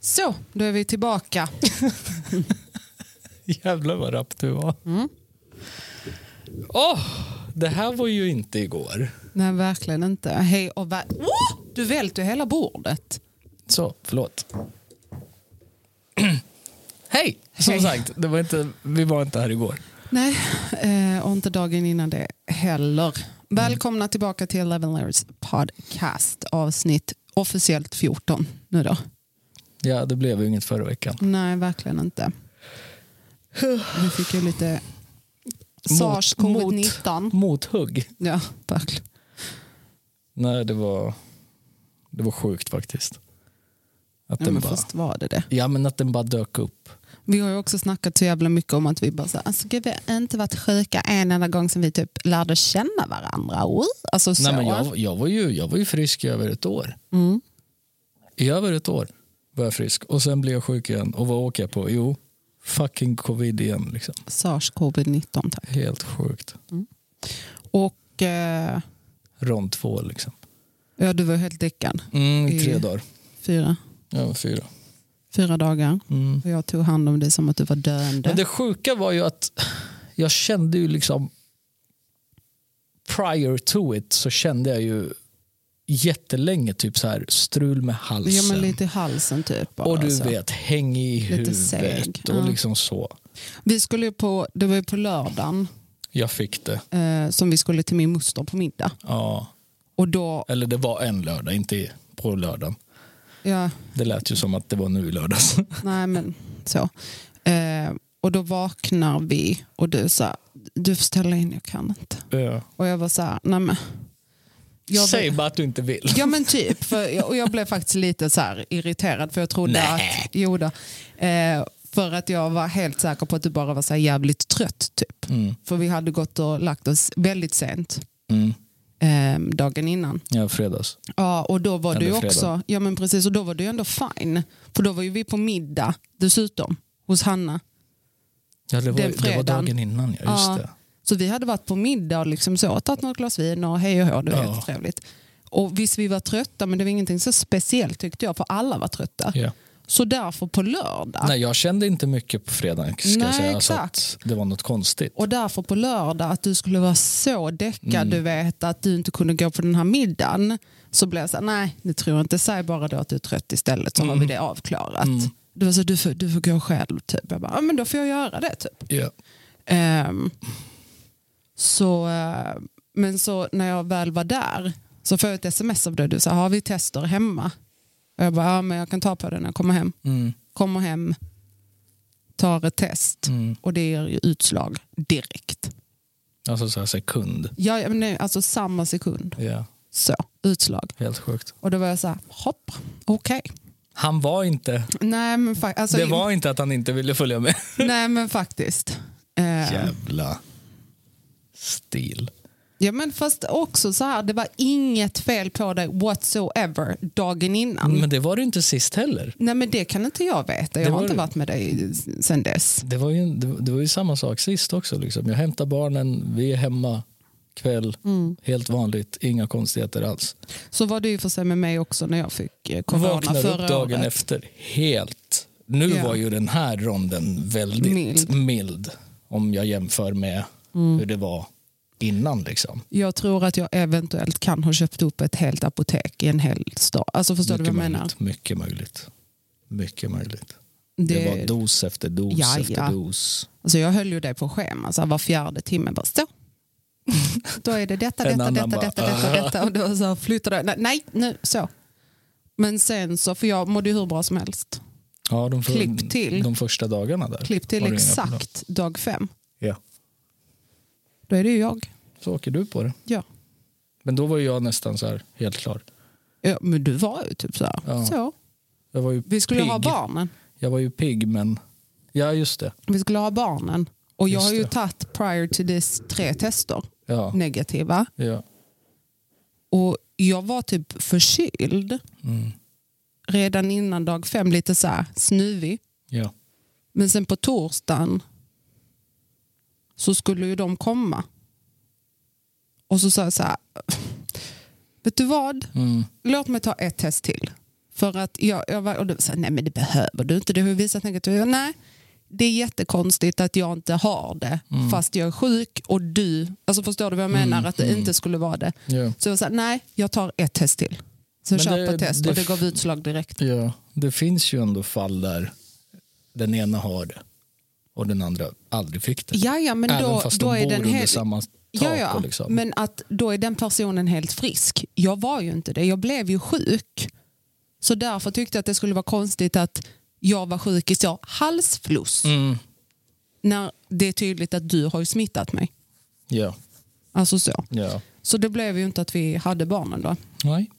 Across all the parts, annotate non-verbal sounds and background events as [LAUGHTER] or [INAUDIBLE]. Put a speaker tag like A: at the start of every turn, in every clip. A: Så, då är vi tillbaka.
B: [LAUGHS] Jävlar vad rapp du var.
A: Mm.
B: Åh, det här var ju inte igår.
A: Nej, verkligen inte. Hej och vä- oh! Du välter hela bordet.
B: Så, förlåt. [CLEARS THROAT] Hej! Som
A: Hej.
B: sagt, det var inte, vi var inte här igår.
A: Nej, eh, och inte dagen innan det heller. Välkomna tillbaka till Eleven Layers podcast avsnitt officiellt 14 nu då.
B: Ja, det blev ju inget förra veckan.
A: Nej, verkligen inte. Vi fick ju lite
B: Mot-
A: sars covid-19.
B: Mothugg.
A: Ja, verkligen.
B: Nej, det var, det var sjukt faktiskt. Att
A: Ja,
B: den
A: men
B: bara,
A: först var det det.
B: ja, men att den bara dök upp.
A: Vi har ju också snackat så jävla mycket om att vi bara så här, alltså gud vi har inte varit sjuka en enda gång sen vi typ lärde känna varandra. Oj, Alltså så.
B: Nej, men jag, jag, var ju, jag var ju frisk i över ett år.
A: mm.
B: I över ett år var jag frisk och sen blev jag sjuk igen. Och vad åker jag på? Jo, fucking covid igen. Liksom.
A: Sars covid-19 tack.
B: Helt sjukt.
A: Och eh,
B: Rond två liksom.
A: ja, du var helt däckad.
B: Mm, tre
A: Eh.
B: dagar.
A: Fyra,
B: Ja, fyra.
A: fyra dagar.
B: Mm.
A: Och jag tog hand om dig som att du var döende.
B: Men det sjuka var ju att jag kände ju liksom prior to it så kände jag ju jättelänge typ så här strul med halsen.
A: ja, men lite i halsen typ. bara,
B: och du
A: så.
B: vet, häng i
A: Lite seg,
B: huvudet och
A: ja.
B: liksom så.
A: Vi skulle ju på, det var ju på lördagen
B: Jag fick det.
A: eh, som vi skulle till min moster på middag.
B: Ja.
A: Och då,
B: Eller det var en lördag, inte på lördagen.
A: ja,
B: Det lät ju som att det var nu i [LAUGHS] lördags.
A: Nej men så. Eh, och då vaknar vi och du sa, du får ställa in, jag kan inte. Och jag var så här, nej men. Jag var-
B: Säg bara att du inte vill.
A: Ja men typ, för jag, och jag blev faktiskt lite så här irriterad för jag trodde
B: Nej.
A: att, jo då, eh, för att jag var helt säker på att du bara var så här jävligt trött typ.
B: Mm.
A: För vi hade gått och lagt oss väldigt sent
B: Mm.
A: eh, dagen innan.
B: Ja, fredags.
A: Ja, och då var du ju
B: Eller fredag.
A: också, ja men precis, och då var du ju ändå fine. För då var ju vi på middag dessutom hos Hanna.
B: Ja, det, var,
A: Den
B: det var
A: fredagen.
B: dagen innan, ja, just
A: Ja.
B: det.
A: Så vi hade varit på middag och liksom så, tagit något glas vin och hej och hå, det var
B: Ja.
A: helt trevligt. Och visst vi var trötta men det var ingenting så speciellt tyckte jag för alla var trötta.
B: Ja.
A: Så därför på lördag
B: Nej, jag kände inte mycket på fredagen. Ska
A: Nej,
B: jag säga. Alltså
A: exakt.
B: att det var något konstigt.
A: och därför på lördag att du skulle vara så däckad
B: Mm.
A: du vet att du inte kunde gå på den här middagen så blev jag så här, nej det tror jag inte, säg bara då att du är trött istället så
B: Mm.
A: har vi det avklarat. Du var så du får, du får gå själv typ. Jag bara, ja men då får jag göra det typ.
B: Ja.
A: Ehm, så, eh, men så när jag väl var där så får jag ett sms av dig. Du sa, har vi tester hemma? Och jag bara, ja men jag kan ta på det när jag kommer hem.
B: Mm.
A: Kommer hem, tar ett test
B: Mm.
A: och det ger ju utslag direkt.
B: Alltså så här sekund.
A: Ja, ja, men nej, alltså samma sekund.
B: Ja,
A: Så, utslag.
B: helt sjukt.
A: Och då var jag så här, hopp, okej.
B: Han var inte...
A: Nej men, fa- alltså,
B: det var inte att han inte ville följa med.
A: [LAUGHS] nej, men faktiskt. Ehm,
B: Jävla stil.
A: Ja men fast också så här, det var inget fel på dig whatsoever dagen innan.
B: Men det var det inte sist heller.
A: Nej men det kan inte jag veta,
B: Det
A: jag har
B: var
A: inte
B: det.
A: varit med dig sen dess.
B: Det var ju, det, det var ju samma sak sist också. Liksom. Jag hämtar barnen, vi är hemma kväll,
A: Mm.
B: helt vanligt, inga konstigheter alls.
A: Så var det ju för sig med mig också när jag fick eh, corona
B: Vaknar
A: förra
B: upp dagen
A: året.
B: efter, helt. Nu
A: Ja.
B: var ju den här ronden väldigt
A: Mild. Mm.
B: mild, om jag jämför med hur det var innan. Liksom.
A: Jag tror att jag eventuellt kan ha köpt upp ett helt apotek i en hel stad. Alltså förstår
B: Mycket,
A: du vad jag menar?
B: möjligt, mycket möjligt. Mycket möjligt.
A: Det,
B: Det, var dos efter dos
A: Ja,
B: efter
A: ja.
B: dos.
A: alltså jag höll ju det på schema, så här, var fjärde timme bara
B: [LAUGHS]
A: så. Då är det detta,
B: En
A: detta,
B: annan
A: detta,
B: bara,
A: detta, detta, detta och då så här, flyttar det. Nej, nej, nu så. Men sen så, för jag mådde ju hur bra som helst.
B: Ja, de, för,
A: Klipp till.
B: de första dagarna där.
A: Klipp till
B: var det inga problem.
A: exakt dag fem.
B: Ja.
A: Då är det ju jag.
B: Så åker du på det.
A: Ja.
B: Men då var ju jag nästan så här, helt klar.
A: Ja, men du var ju typ så här.
B: Ja.
A: Så.
B: Jag var ju
A: Vi skulle
B: pigg.
A: ha barnen.
B: Jag var ju pigg, men... Ja, just det.
A: Vi skulle ha barnen. Och jag
B: Just
A: har ju
B: det.
A: tagit prior to this tre tester.
B: Ja.
A: Negativa.
B: Ja.
A: Och jag var typ förkyld
B: Mm.
A: redan innan dag fem. Lite så här snuvig.
B: ja.
A: Men sen på torsdagen så skulle ju de komma. Och så sa jag så här. "Äh, Vet du vad?
B: Mm.
A: Låt mig ta ett test till. För att jag, jag var, och du sa, nej men det behöver du inte, det har ju visat negativt. Jag, nej, det är jättekonstigt att jag inte har det fast jag är sjuk och du, alltså förstår du vad jag menar, att det inte skulle vara det.
B: Ja.
A: Så jag sa, nej jag tar ett test till. Så jag
B: Men
A: köper
B: det-
A: test
B: det-
A: och det gav utslag direkt.
B: Ja, det finns ju ändå fall där den ena har det och den andra aldrig fick det.
A: Ja, ja, men
B: Även
A: då,
B: fast
A: då
B: de
A: är
B: bor
A: den
B: under
A: helt...
B: samma tak.
A: Ja, ja.
B: och Liksom.
A: Men att då är den personen helt frisk. Jag var ju inte det. Jag blev ju sjuk. Så därför tyckte jag att det skulle vara konstigt att jag var sjuk i så halsfluss.
B: Mm,
A: När det är tydligt att du har ju smittat mig.
B: ja,
A: Alltså så.
B: ja.
A: Så det blev ju inte att vi hade barnen då.
B: Nej,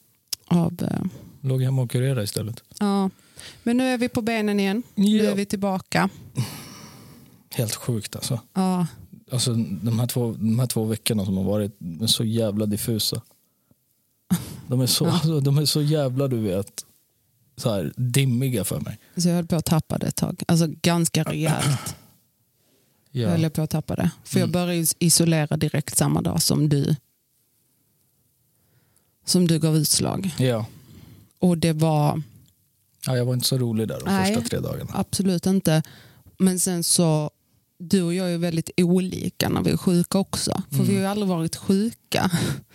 A: Av, eh,
B: låg hemma och kurerade istället.
A: ja. Men nu är vi på benen igen. Nu
B: Ja.
A: är vi tillbaka.
B: Helt sjukt alltså.
A: Ja.
B: alltså de, här två, de här två veckorna som har varit de är så jävla diffusa. De är så, alltså, de är så jävla du vet, så här, dimmiga för mig.
A: Så Alltså jag höll på att tappa det ett tag. Alltså ganska rejält. Jag höll på att tappa det. För jag började is- isolera direkt samma dag som du som du gav utslag.
B: Ja.
A: Och det var
B: Ja, jag var inte så rolig där de
A: Nej.
B: första tre dagarna.
A: absolut inte... Men sen så... Du och jag är ju väldigt olika när vi är sjuka också. För vi har ju aldrig varit sjuka.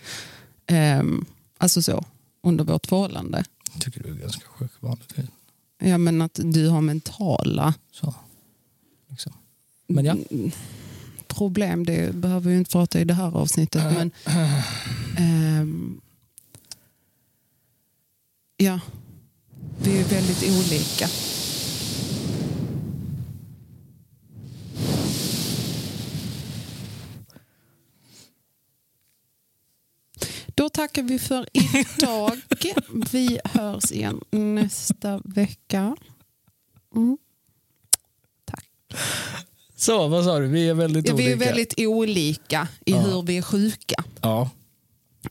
A: [LAUGHS] Ehm, alltså så, under vårt förhållande.
B: Jag tycker du är ganska sjuk vanligtvis.
A: Ja, men att du har mentala
B: Så. Liksom. Men ja.
A: problem, det behöver vi ju inte prata i det här avsnittet. Men, ehm, ja, vi är ju väldigt olika. Då tackar vi för
B: [LAUGHS]
A: idag. Vi hörs igen nästa vecka. Mm. Tack.
B: Så, vad sa du? Vi är väldigt
A: Ja,
B: olika.
A: vi är väldigt olika i
B: Ja.
A: hur vi är sjuka.
B: Ja.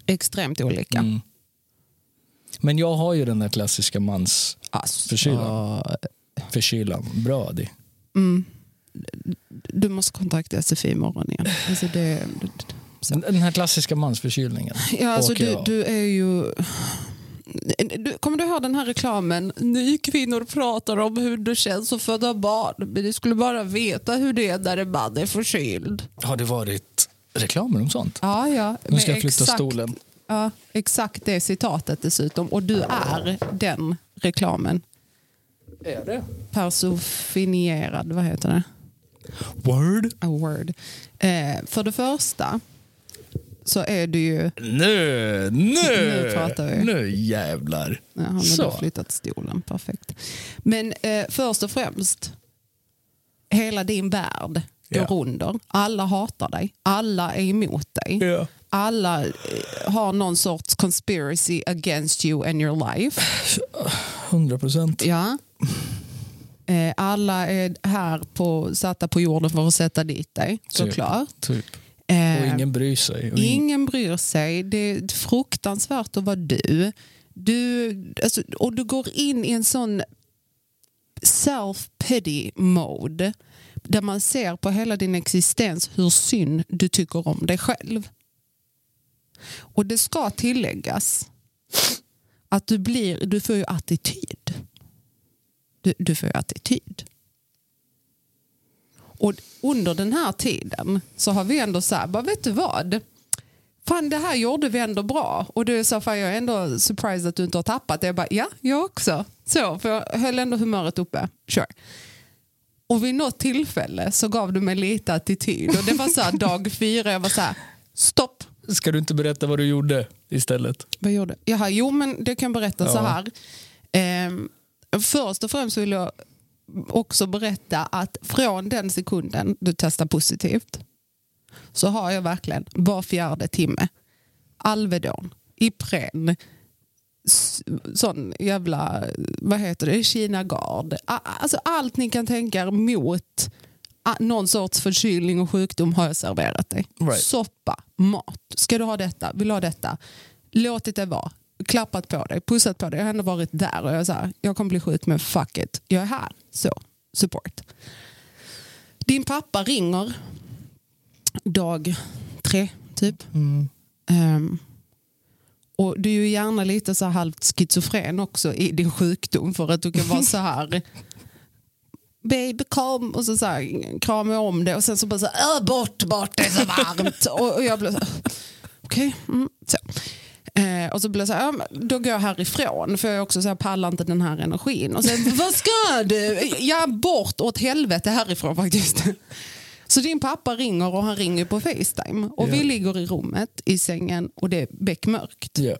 A: Extremt olika.
B: Mm. Men jag har ju den där klassiska mansförkylan.
A: Alltså,
B: Förkylan. Bra det.
A: mm. Du måste kontakta SFI imorgon igen. Alltså det,
B: Den den här klassiska mansförkylningen.
A: ja, alltså
B: Åker
A: du,
B: jag.
A: du är ju... Du, kommer du ihåg den här reklamen? Ni kvinnor pratar om hur det känns att föda barn. Men ni skulle bara veta hur det är när en man är förkyld.
B: Har det varit reklamer om sånt?
A: Ja, ja.
B: Nu ska
A: men
B: jag flytta
A: exakt-
B: stolen.
A: Ja, exakt det citatet dessutom. Och du är den reklamen.
B: Är det?
A: Personifierad, vad heter det?
B: Word?
A: A word. Eh, för det första så är du ju...
B: Nu, nu,
A: Nu pratar vi.
B: Nu jävlar.
A: Ja, han har
B: Så.
A: då flyttat stolen, perfekt. Men eh, först och främst, hela din värld går
B: Ja.
A: under. Alla hatar dig, alla är emot dig.
B: Ja.
A: Alla eh, har någon sorts conspiracy against you and your life.
B: 100 procent.
A: Ja. Eh, alla är här på, satta på jorden för att sätta dit dig, såklart.
B: Typ.
A: Eh,
B: Och ingen bryr sig. Och ing-
A: Ingen bryr sig. Det är fruktansvärt att vara du. du alltså, och du går in i en sån self-pity mode där man ser på hela din existens hur synd du tycker om dig själv. Och det ska tilläggas att du, blir, du får ju attityd. Du, du får ju attityd. Och under den här tiden så har vi ändå så här, bara vet du vad? Fan det här gjorde vi ändå bra. Och du sa, fan jag är ändå surprised att du inte har tappat det. Jag bara, ja jag också. Så, för jag höll ändå humöret uppe. Sure. Och vid något tillfälle så gav du mig lite attityd. Och det var [LAUGHS] så här dag fyra, jag var så här, stopp.
B: Ska du inte berätta vad du gjorde istället?
A: Vad gjorde jag? Jaha, jo men det kan jag berätta så här. Ehm, först och främst vill jag också berätta att från den sekunden du testar positivt så har jag verkligen var fjärde timme Alvedon, Ipren, s- sån jävla, vad heter det, Kinagard. A- Alltså allt ni kan tänka er mot a- någon sorts förkylning och sjukdom har jag serverat dig.
B: Right.
A: Soppa, mat, ska du ha detta, vill du ha detta, låtit det vara, klappat på dig, pussat på dig, jag har ändå varit där och jag är så här, jag kommer bli sjuk men fuck it, jag är här, så, support. Din pappa ringer dag tre, typ. Ehm, Och du är ju gärna lite så här halvt schizofren också i din sjukdom för att du kan vara så här baby kom och så, så här, kramar jag om det och sen så bara så här, "Äh, bort, bort, det är så varmt. och, och jag blev så här, okej. mm, så. Eh, och så blev jag så här, ja, men då går jag härifrån för jag är också så här, pallar inte den här energin. Och sen, vad ska du? Ja, bort åt helvete härifrån faktiskt. [LAUGHS] Så din pappa ringer och han ringer på Facetime. Och vi
B: Ja.
A: ligger i rummet i sängen och det är beckmörkt.
B: Ja.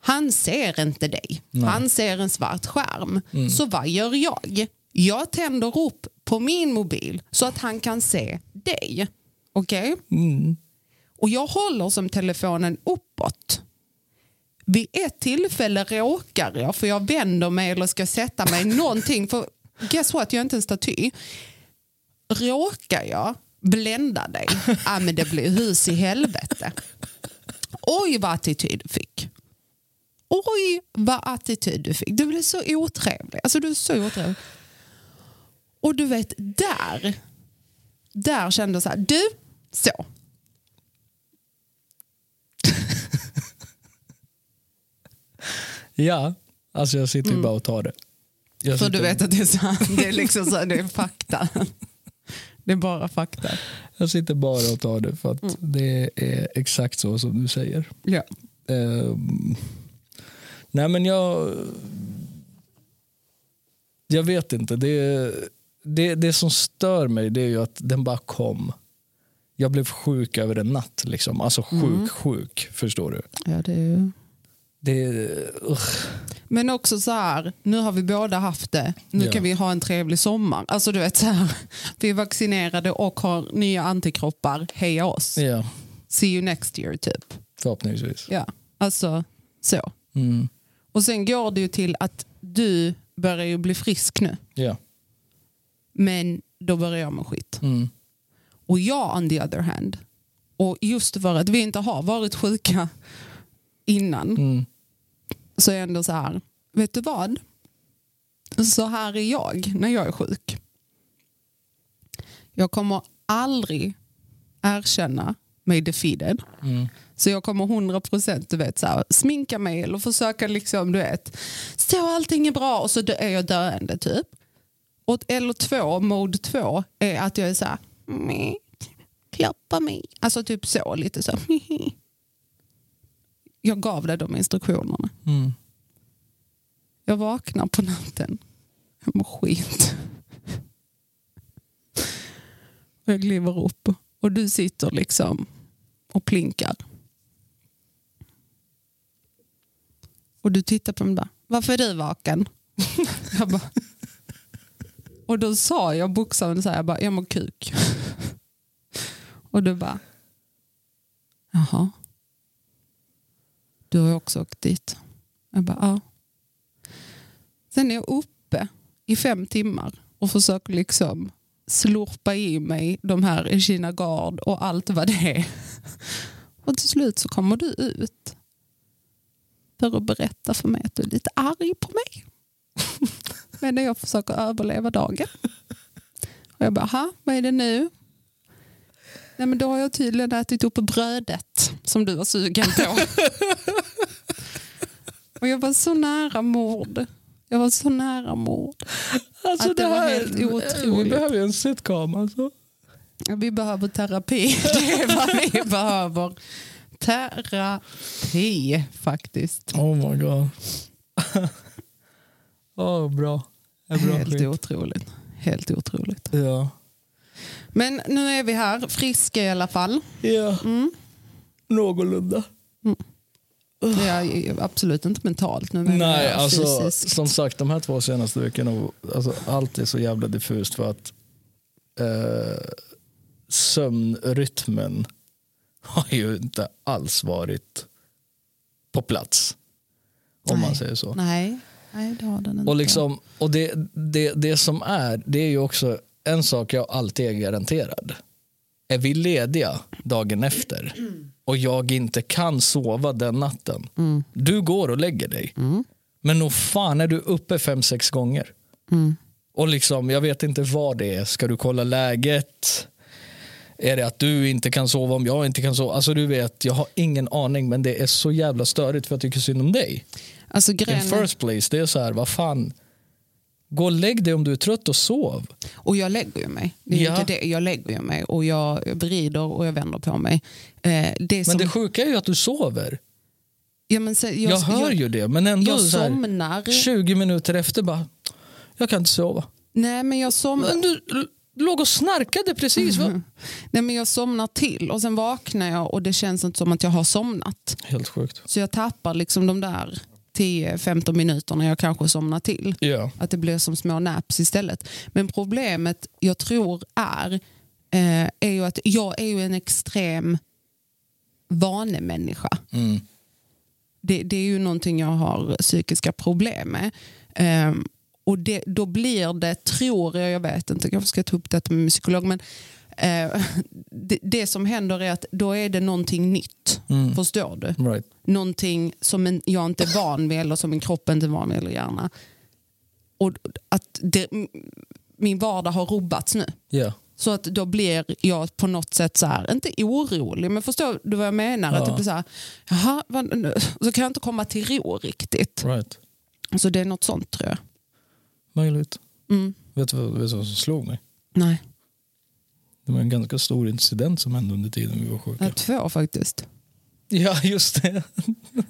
A: Han ser inte dig. Han ser en svart skärm. Så vad gör jag? Jag tänder upp på min mobil så att han kan se dig. Okej? Och jag håller som telefonen uppåt. Vid ett tillfälle råkar jag, för jag vänder mig eller ska sätta mig någonting, för guess what, jag är inte en staty. Råkar jag blända dig, ah, men det blir hus i helvete. Oj vad attityd du fick. Oj vad attityd du fick. Du blev så otrevlig. Alltså du är så otrevlig. Och du vet, där, där kände jag så här, du, så.
B: ja, alltså jag sitter ju bara och tar det. Jag
A: Mm. För
B: sitter,
A: du vet att det är sant. Det är liksom så här, det är fakta. Det är bara fakta.
B: jag sitter bara och tar det för att
A: Mm.
B: det är exakt så som du säger.
A: Ja.
B: Ehm, nej men jag... Jag vet inte. Det, det, det som stör mig det är ju att den bara kom. Jag blev sjuk över en natt. Liksom. Alltså
A: Mm.
B: sjuk, sjuk. Förstår du?
A: ja det är ju...
B: Det, ugh.
A: Men också så här, nu har vi båda haft det. Nu
B: Ja.
A: kan vi ha en trevlig sommar. Alltså du vet så här, vi är vaccinerade och har nya antikroppar. Heja oss.
B: Ja,
A: See you next year typ.
B: förhoppningsvis.
A: Ja. Alltså så.
B: Mm.
A: Och sen går det ju till att du börjar ju bli frisk nu.
B: Ja.
A: Men då börjar jag med skit.
B: Mm.
A: och jag on the other hand. Och just för att vi inte har varit sjuka innan
B: Mm.
A: så är jag ändå så här, vet du vad? Så här är jag när jag är sjuk. Jag kommer aldrig erkänna mig defeated.
B: Mm.
A: Så jag kommer 100% du vet, så här, sminka mig eller försöka liksom, du vet, så allting är bra och så dö- är jag döende typ. Och, eller två, mode två, är att jag är så här, "Meh, klappa mig. Alltså typ så, lite så. [LAUGHS] "Meh." Jag gav dig de instruktionerna.
B: Mm.
A: Jag vaknar på natten. Jag mår skit. Och jag kliver upp och du sitter liksom och plinkar. Och du tittar på mig och bara, varför är du vaken? [LAUGHS] jag bara, och då sa jag bokstavligen så här, jag bara, jag mår kuk. och du bara, jaha. Du har ju också åkt dit. Jag bara, ja. Sen är jag uppe i fem timmar och försöker liksom slurpa i mig de här Kina Gard och allt vad det är. Och till slut så kommer du ut för att berätta för mig att du är lite arg på mig. Men när jag försöker överleva dagen. Och jag bara, "Aha, vad är det nu? Nej men då har jag tydligen ätit upp brödet som du var sugen på. Och jag var så nära mord. Jag var så nära mord.
B: Alltså,
A: Att det var helt otroligt.
B: Det här är en sitcom alltså.
A: Vi behöver terapi. [LAUGHS] Det är vad vi behöver. Terapi faktiskt.
B: Oh my [LAUGHS] god. oh, bra. Det är bra
A: Helt
B: skit.
A: otroligt. Helt otroligt.
B: Ja.
A: Men nu är vi här, friska i alla fall.
B: ja. Någorlunda.
A: Det är ju absolut inte mentalt nu. men
B: Nej,
A: det är
B: alltså
A: fysiskt.
B: som sagt de här två senaste veckorna, alltså, allt är så jävla diffust för att eh, sömnrytmen har ju inte alls varit på plats. Om man
A: Nej.
B: säger så.
A: Nej. Nej, det har den inte.
B: Och, liksom, och det, det, det som är, det är ju också en sak jag alltid är garanterad. Är vi lediga dagen efter och jag inte kan sova den natten. Du går och lägger dig. Men nog fan är du uppe fem, sex gånger. Och liksom, jag vet inte vad det är. Ska du kolla läget? Är det att du inte kan sova om jag inte kan sova? Alltså du vet, jag har ingen aning men det är så jävla störigt för jag tycker synd om dig.
A: Alltså,
B: In
A: grejen, är-
B: first place, det är så här, vad fan. Gå och lägg dig om du är trött och sov.
A: och jag lägger ju mig. Det är
B: Ja.
A: ju inte det. Jag lägger ju mig och jag vrider och jag vänder på mig. Eh, det är
B: Men
A: som,
B: det sjuka är ju att du sover.
A: ja, men, se-
B: Jag,
A: jag,
B: hör
A: jag,
B: ju det men ändå
A: jag
B: så här,
A: somnar.
B: 20 minuter efter bara, jag kan inte sova.
A: Nej, men jag somnar.
B: Men du l- låg och snarkade precis
A: Mhm.
B: va?
A: Nej, men jag somnar till och sen vaknar jag och det känns inte som att jag har somnat.
B: Helt sjukt.
A: Så jag tappar liksom de där 10-15 minuterna jag kanske somnar till.
B: Ja.
A: Att det blir som små naps istället. Men problemet jag tror är, eh, är ju att jag är ju en extrem vanemänniska.
B: Mm.
A: Det, det är ju någonting jag har psykiska problem med. Ehm, och det, då blir det, tror jag, jag vet inte, jag kanske ska ta upp detta med min psykolog, men eh, [LAUGHS] det, det som händer är att då är det någonting nytt. Förstår du?
B: Mm. Right.
A: någonting som en, jag inte är van vid eller som min kropp inte är van vid eller hjärna. Och att det, m- min vardag har rubbats nu.
B: Ja.
A: Så att då blir jag på något sätt så här, inte orolig, men förstår du vad jag menar? Att det blir så här, jaha, vad, nu? så kan jag inte komma till ro riktigt.
B: Right.
A: Så det är något sånt tror jag.
B: Möjligt.
A: Mm.
B: Vet du, vad, vet du vad som slog mig?
A: Nej,
B: Det var en ganska stor incident som hände under tiden vi var
A: jag
B: sjuka.
A: har två faktiskt.
B: Ja, just det.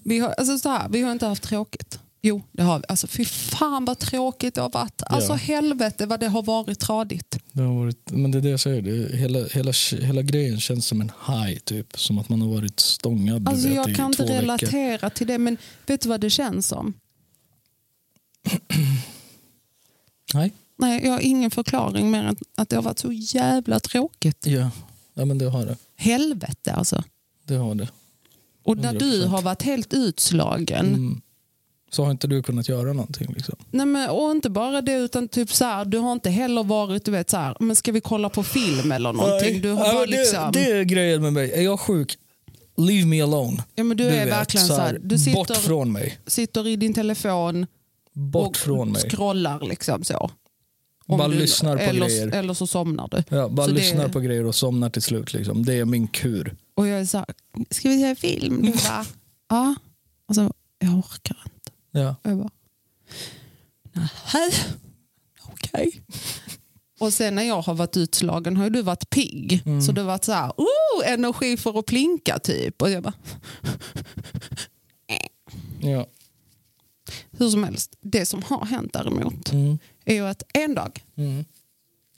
A: Vi har, alltså så här, vi har inte haft tråkigt. Jo, det har vi. Alltså, fy fan vad tråkigt det har varit. Alltså
B: Ja.
A: helvete vad det har varit tradigt.
B: det har varit, men det är det jag säger. Det är, hela, hela, hela grejen känns som en high, typ. Som att man har varit stångad du
A: Alltså
B: vet,
A: jag
B: i
A: kan inte
B: två veckor.
A: relatera till det, men vet du vad det känns som?
B: Nej.
A: Nej, jag har ingen förklaring mer än att det har varit så jävla tråkigt.
B: Ja. ja, men det har det.
A: Helvete alltså.
B: Det har det.
A: Och när du
B: 100%.
A: har varit helt utslagen.
B: Mm. Så har inte du kunnat göra någonting. Liksom.
A: Nej, men, och inte bara det, utan typ så här, du har inte heller varit, du vet så här, men ska vi kolla på film eller någonting? Du har
B: Ja,
A: bara
B: men det,
A: liksom...
B: det är grejen med mig. Är jag sjuk, leave me alone.
A: ja, men du, är
B: vet,
A: verkligen så här, du
B: Bort
A: sitter,
B: från mig.
A: sitter i din telefon
B: Bort från
A: och
B: mig.
A: scrollar liksom så.
B: Bara lyssnar på
A: eller,
B: grejer.
A: Eller så somnar du.
B: Ja, bara
A: Så det-
B: lyssnar på grejer och somnar till slut. Liksom. Det är min kur.
A: Och jag är så här, ska vi se en
B: [LAUGHS]
A: film? Du bara, ja. Och så, jag orkar inte.
B: Ja.
A: Och jag bara, nej, okej. Och sen när jag har varit utslagen har ju du varit pigg. Så du har varit så här, oh, energi för att plinka typ. Och jag bara,
B: Ja.
A: hur som helst. Det som har hänt däremot
B: Mm.
A: är ju att en dag
B: Mm.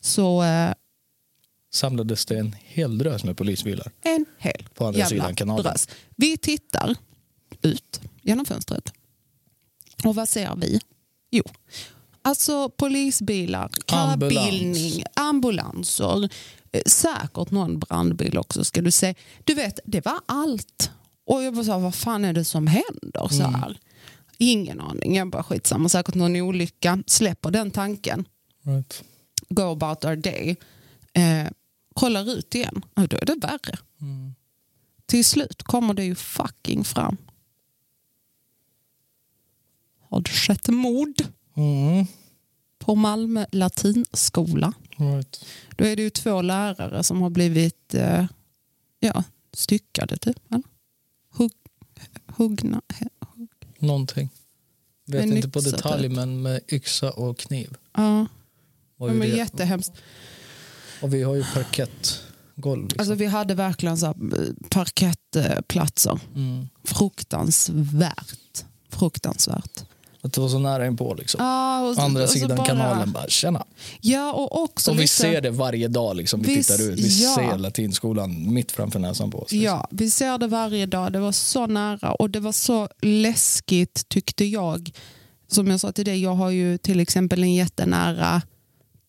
A: så eh,
B: Samlades det en hel drös med polisbilar.
A: en hel
B: På andra sidan kanalen.
A: drös. Vi tittar ut genom fönstret. Och vad ser vi? Jo, alltså polisbilar,
B: Ambulans.
A: karabildning, ambulanser. eh, Säkert någon brandbil också ska du se. Du vet, det var allt. Och jag bara sa, vad fan är det som händer? Så
B: Mm.
A: här. Ingen aning, jag bara skitsamma, säkert någon olycka. Släpper den tanken
B: Right.
A: go about our day, eh, kollar ut igen, ja, då är det värre.
B: Mm.
A: Till slut kommer det ju fucking fram. Har det skett mord
B: Mm.
A: på Malmö latinskola?
B: Right.
A: Då är det ju två lärare som har blivit eh, ja, styckade. Typ, eller? Hugg, huggna. Hugg,
B: Någonting. Vet
A: En
B: inte på
A: yxa,
B: detalj
A: typ.
B: men med yxa och kniv.
A: ja,
B: Var ju
A: de är
B: det. liksom.
A: jättehemskt.
B: Och vi har ju parkettgolv. Liksom.
A: Alltså, vi hade verkligen så här, eh, parkettplatser.
B: mm.
A: Fruktansvärt. Fruktansvärt.
B: Att det var så nära inpå liksom.
A: Ja, och så-
B: Andra
A: och så
B: sidan
A: bara-
B: kanalen bara tjena.
A: Ja, och också
B: och vi
A: lite,
B: ser det varje dag liksom. Vi
A: Vi
B: tittar ut. Vi
A: s- ja.
B: ser latinskolan mitt framför näsan på oss. liksom.
A: Ja, vi ser det varje dag. Det var så nära och det var så läskigt tyckte jag. Som jag sa till dig, jag har ju till exempel en jättenära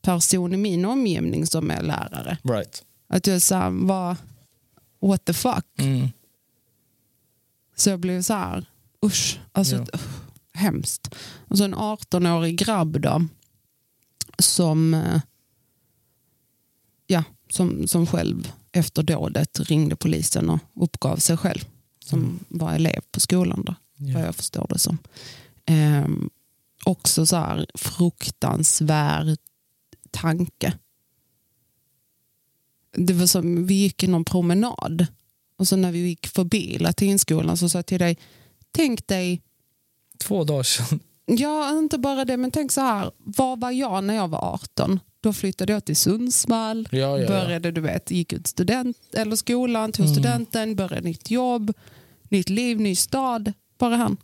A: person i min omgivning som är lärare.
B: liksom. Right.
A: Att jag sa, vad, what the fuck?
B: Mm.
A: Så jag blev så här, usch, alltså
B: Ja.
A: usch, hemskt. Och så en 18-årig grabb då, som, eh, ja, som, som själv efter dådet ringde polisen och uppgav sig själv. Som var elev på skolan då, vad jag förstår det som. Ehm, också så här fruktansvärd tanke. det var som, vi gick någon promenad och så när vi gick förbi latinskolan så sa jag till dig, tänk dig,
B: Två dagar sedan.
A: ja inte bara det, men tänk så här, var var jag när jag var 18? Då flyttade jag till Sundsvall,
B: Ja, ja, Mm. ja.
A: började du vet, gick ut student, eller skolan, tog studenten, började nytt jobb, nytt liv, ny stad, bara han.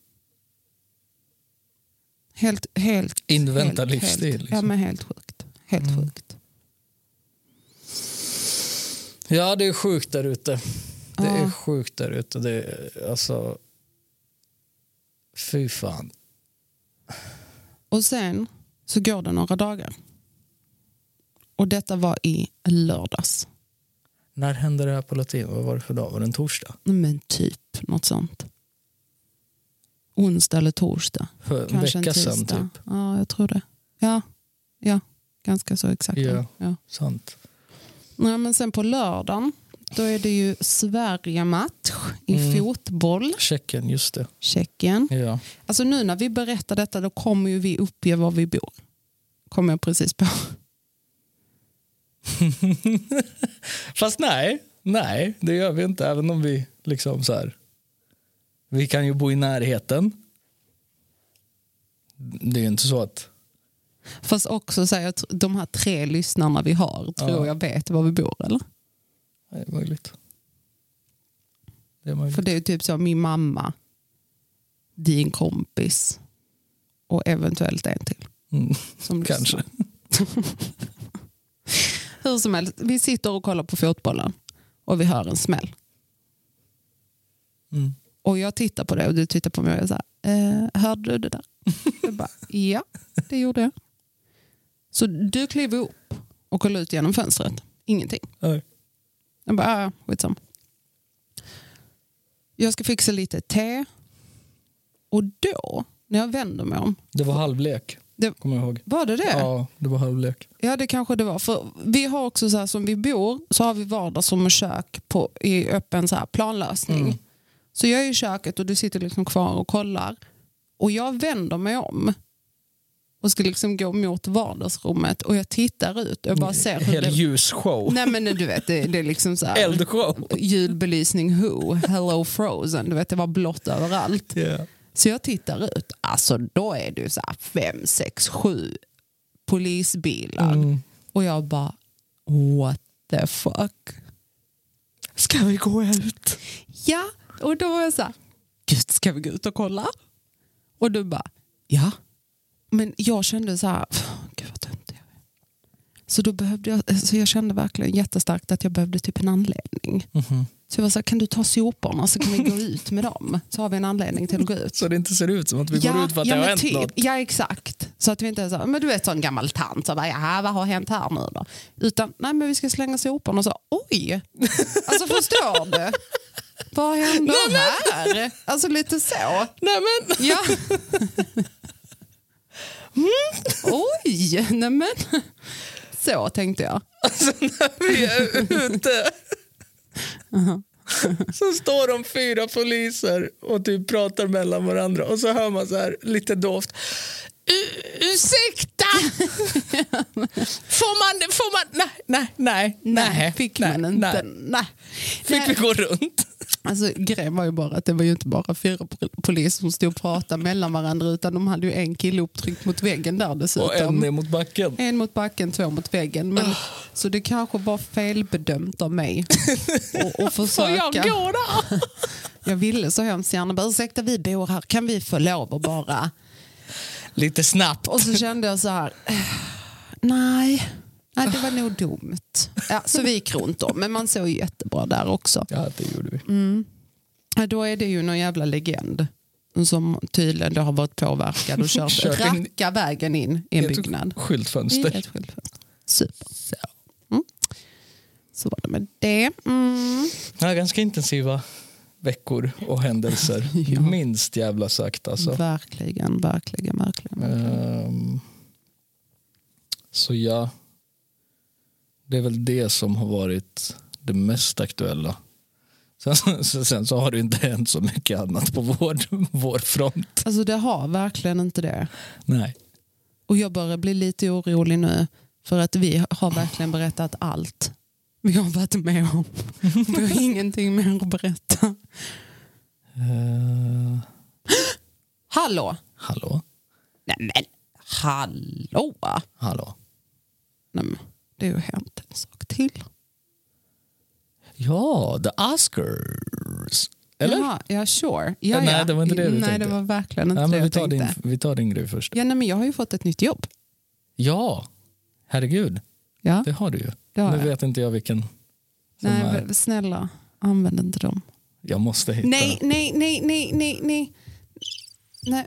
A: Helt, helt,
B: Invänta
A: helt,
B: livsstil,
A: Helt,
B: liksom. Mm.
A: Ja men helt sjukt. Helt sjukt.
B: Ja, det är sjukt där ute. Det
A: Ja.
B: är sjukt där ute. Det är, alltså... Fy fan.
A: Och sen så går det några dagar. Och detta var i lördags.
B: När hände det här på latin? Vad var det för dag? Var det en torsdag?
A: Men typ något sånt. Onsdag eller torsdag.
B: För en
A: Kanske
B: vecka
A: en tisdag.
B: sedan, typ.
A: Ja, jag tror det. Ja, ja. ganska så exakt.
B: Ja.
A: Ja.
B: Sant.
A: Nej, men sen på lördagen då är det ju Sverige-match i
B: Mm.
A: fotboll.
B: Tjeckien, just det.
A: Tjeckien.
B: Ja.
A: Alltså nu när vi berättar detta då kommer ju vi uppge var vi bor. Kommer jag precis på.
B: Fast nej, nej, det gör vi inte. Även om vi liksom så här... Vi kan ju bo i närheten. Det är ju inte så att...
A: Fast också så här, jag tr- de här tre lyssnarna vi har tror
B: Ja.
A: jag vet var vi bor. Eller?
B: Det är möjligt. Det är möjligt.
A: För det är ju typ så min mamma, din kompis och eventuellt en till.
B: Mm,
A: Som lyssnar.
B: kanske.
A: [LAUGHS] Hur som helst, vi sitter och kollar på fotbollen och vi hör en smäll.
B: Mm.
A: Och jag tittar på det och du tittar på mig och jag säger, eh, hörde du det där? Jag bara, ja, det gjorde jag. Så du klev upp och kollade ut genom fönstret. Ingenting.
B: Nej.
A: Jag bara, "Ah, ja, ja, skitsamma. Jag ska fixa lite te. Och då, när jag vänder mig om,
B: Det var halvlek,
A: Det-
B: kommer jag ihåg.
A: var det det?
B: Ja, det var halvlek.
A: Ja det kanske det var. För vi har också så här som vi bor så har vi vardagsrum och kök på, i öppen så här planlösning.
B: Mm.
A: Så jag är i köket och du sitter liksom kvar och kollar. Och jag vänder mig om och ska liksom gå mot vardagsrummet och jag tittar ut och jag bara ser hur
B: Hel
A: det...
B: ljusshow.
A: Nej men du vet det, det är liksom så här
B: Eldshow.
A: ljudbelysning Who, Hello Frozen, du vet det var blått överallt.
B: Ja.
A: Så jag tittar ut, alltså då är det ju så här fem, sex, sju polisbilar.
B: Mm.
A: Och jag bara, what the fuck?
B: Ska vi gå ut?
A: Ja, och då var jag så här, gud ska vi gå ut och kolla? Och du bara, ja. Men jag kände så här, "Pff, gud vad dumt jag är. Så då behövde jag, så jag kände verkligen jättestarkt att jag behövde typ en anledning. Så jag var så här, kan du ta soporna så kan vi gå ut med dem? Så har vi en anledning till att gå ut.
B: Så det inte ser ut som att vi går ut för att
A: ja,
B: det har
A: men
B: hänt
A: typ.
B: något.
A: Ja, exakt. Så att vi inte är så, här, men du vet sån gammal tant som bara, "Jaha, vad har hänt här nu då? Utan, nej men vi ska slänga soporna och så, oj! Alltså förstår du? Vad händer här? Alltså lite så.
B: Nej men, [LAUGHS]
A: Ja. Mm, oj, nej men. Så tänkte jag.
B: alltså när vi är ute
A: Uh-huh.
B: så står de fyra poliser och typ pratar mellan varandra och så hör man så här lite doft. "U- Ursäkta! Får man, får man, nej, nej, nej, nej.
A: fick
B: nej,
A: man inte.
B: nej.
A: Nej.
B: Fick vi gå runt?
A: Alltså, grejen var ju bara att det var ju inte bara fyra pol- poliser som stod och pratade mellan varandra utan de hade ju en kille upptryckt mot väggen där dessutom.
B: Och en ner mot backen.
A: En mot backen, två mot väggen. Men, Så det kanske var felbedömt av mig [LAUGHS] och, och
B: Får jag
A: försöka.
B: gå där?
A: Jag ville så hemskt gärna bara, ursäkta vi bor här, kan vi få lov att bara...
B: Lite snabbt.
A: Och så kände jag så här, eh, nej, nej det var nog dumt. Ja, så vi gick runt då, men man såg ju jättebra där också.
B: Ja, det gjorde vi.
A: Ja, Då är det ju någon jävla legend som tydligen då har varit påverkad och kört
B: Kört in-
A: raka vägen in i en byggnad.
B: Ett skyltfönster.
A: I ett skyltfönster. Super. Så. Mm. så var det med det. Mm.
B: Ja, ganska intensiva veckor och händelser.
A: [LAUGHS] Ja.
B: Minst jävla sagt alltså.
A: Verkligen, verkligen, verkligen.
B: Ehm, så ja, det är väl det som har varit det mest aktuella. Sen, sen, sen så har det inte hänt så mycket annat på vår, vår front.
A: Alltså det har verkligen inte det.
B: Nej.
A: Och jag börjar bli lite orolig nu för att vi har verkligen berättat allt. vi har varit med om. Vi har ingenting mer att berätta.
B: Eh,
A: Hallå!
B: hallå?
A: Nej men, hallå!
B: Hallå?
A: Nej, men, det har ju hänt en sak till.
B: Ja, The Oscars. Eller? Eh,
A: Jaha, ja, sure. Ja,
B: Nej,
A: ja.
B: det var inte det du
A: Nej,
B: tänkte.
A: det var verkligen inte
B: Nej,
A: det
B: men vi,
A: jag
B: tar
A: tänkte.
B: din, vi tar din grej först.
A: Ja, nej, men jag har ju fått ett nytt jobb.
B: Ja, herregud.
A: Ja,
B: Det har du ju.
A: det har
B: nu
A: jag.
B: vet inte jag vilken. som
A: Nej,
B: är-
A: men snälla, använd inte dem.
B: Jag måste hitta.
A: Nej, nej, nej, nej, nej, nej. Nej.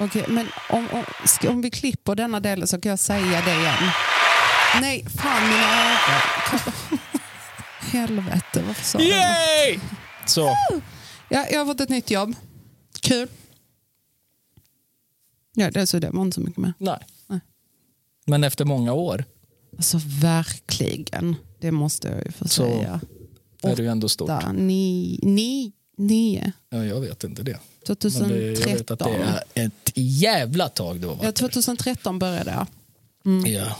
A: Okej, men om, om, ska, om vi klipper denna delen så kan jag säga det igen. Nej, fan mina öron. [LAUGHS] Helvete, varför sa jag det?
B: Yay! Så,
A: ja, Jag har fått ett nytt jobb. Kul. Ja, det, så det var inte så mycket mer.
B: nej.
A: Nej.
B: Men efter många år
A: Alltså verkligen, det måste jag ju få
B: Så.
A: säga.
B: är du ju ändå stor.
A: åtta, ni, ni, nio,
B: Ja, jag vet inte det. Men det,
A: 2013.
B: jag vet att det är ett jävla tag du har
A: Ja,
B: varit
A: 2013 började jag.
B: där. Ja.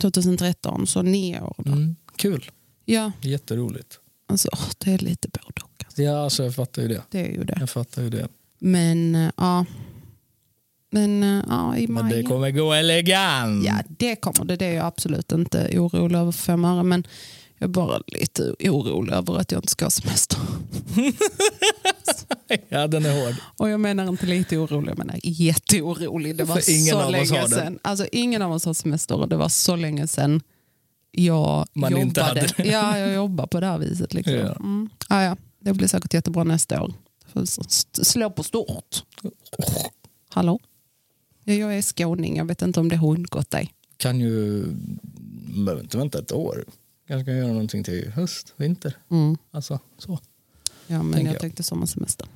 A: 2013, så nio år. Då.
B: Mm. Kul,
A: Ja,
B: jätteroligt.
A: alltså åh, det är lite både och. Alltså.
B: Ja, alltså, jag fattar ju det.
A: Det är ju det.
B: Jag fattar ju det.
A: Men eh, ja, men eh, ja, i
B: Men
A: maj.
B: det kommer gå elegant.
A: Ja, det kommer det. Det är jag absolut inte orolig över för fem öre. Men jag är bara lite orolig över att jag inte ska ha semester.
B: [LAUGHS] ja, den är hård.
A: Och jag menar inte lite orolig, jag menar jätteorolig. Det var
B: För ingen
A: så
B: av oss
A: länge
B: har det.
A: sedan. Alltså, ingen av oss har semester och det var så länge sedan jag
B: Man
A: jobbade.
B: inte hade det.
A: Ja, jag jobbar på det här viset. Liksom.
B: Ja.
A: Mm. Ja, ja. Det blir säkert jättebra nästa år. Får s- s- Slå på stort. Hallå? Ja, Jag är skåning, jag vet inte om det har undgått dig.
B: Kan ju... Behöver inte vänta ett år. Kanske kan göra någonting till höst, vinter.
A: Mm.
B: Alltså, så.
A: Ja, men
B: Tänker
A: jag,
B: jag.
A: tänkte sommarsemester.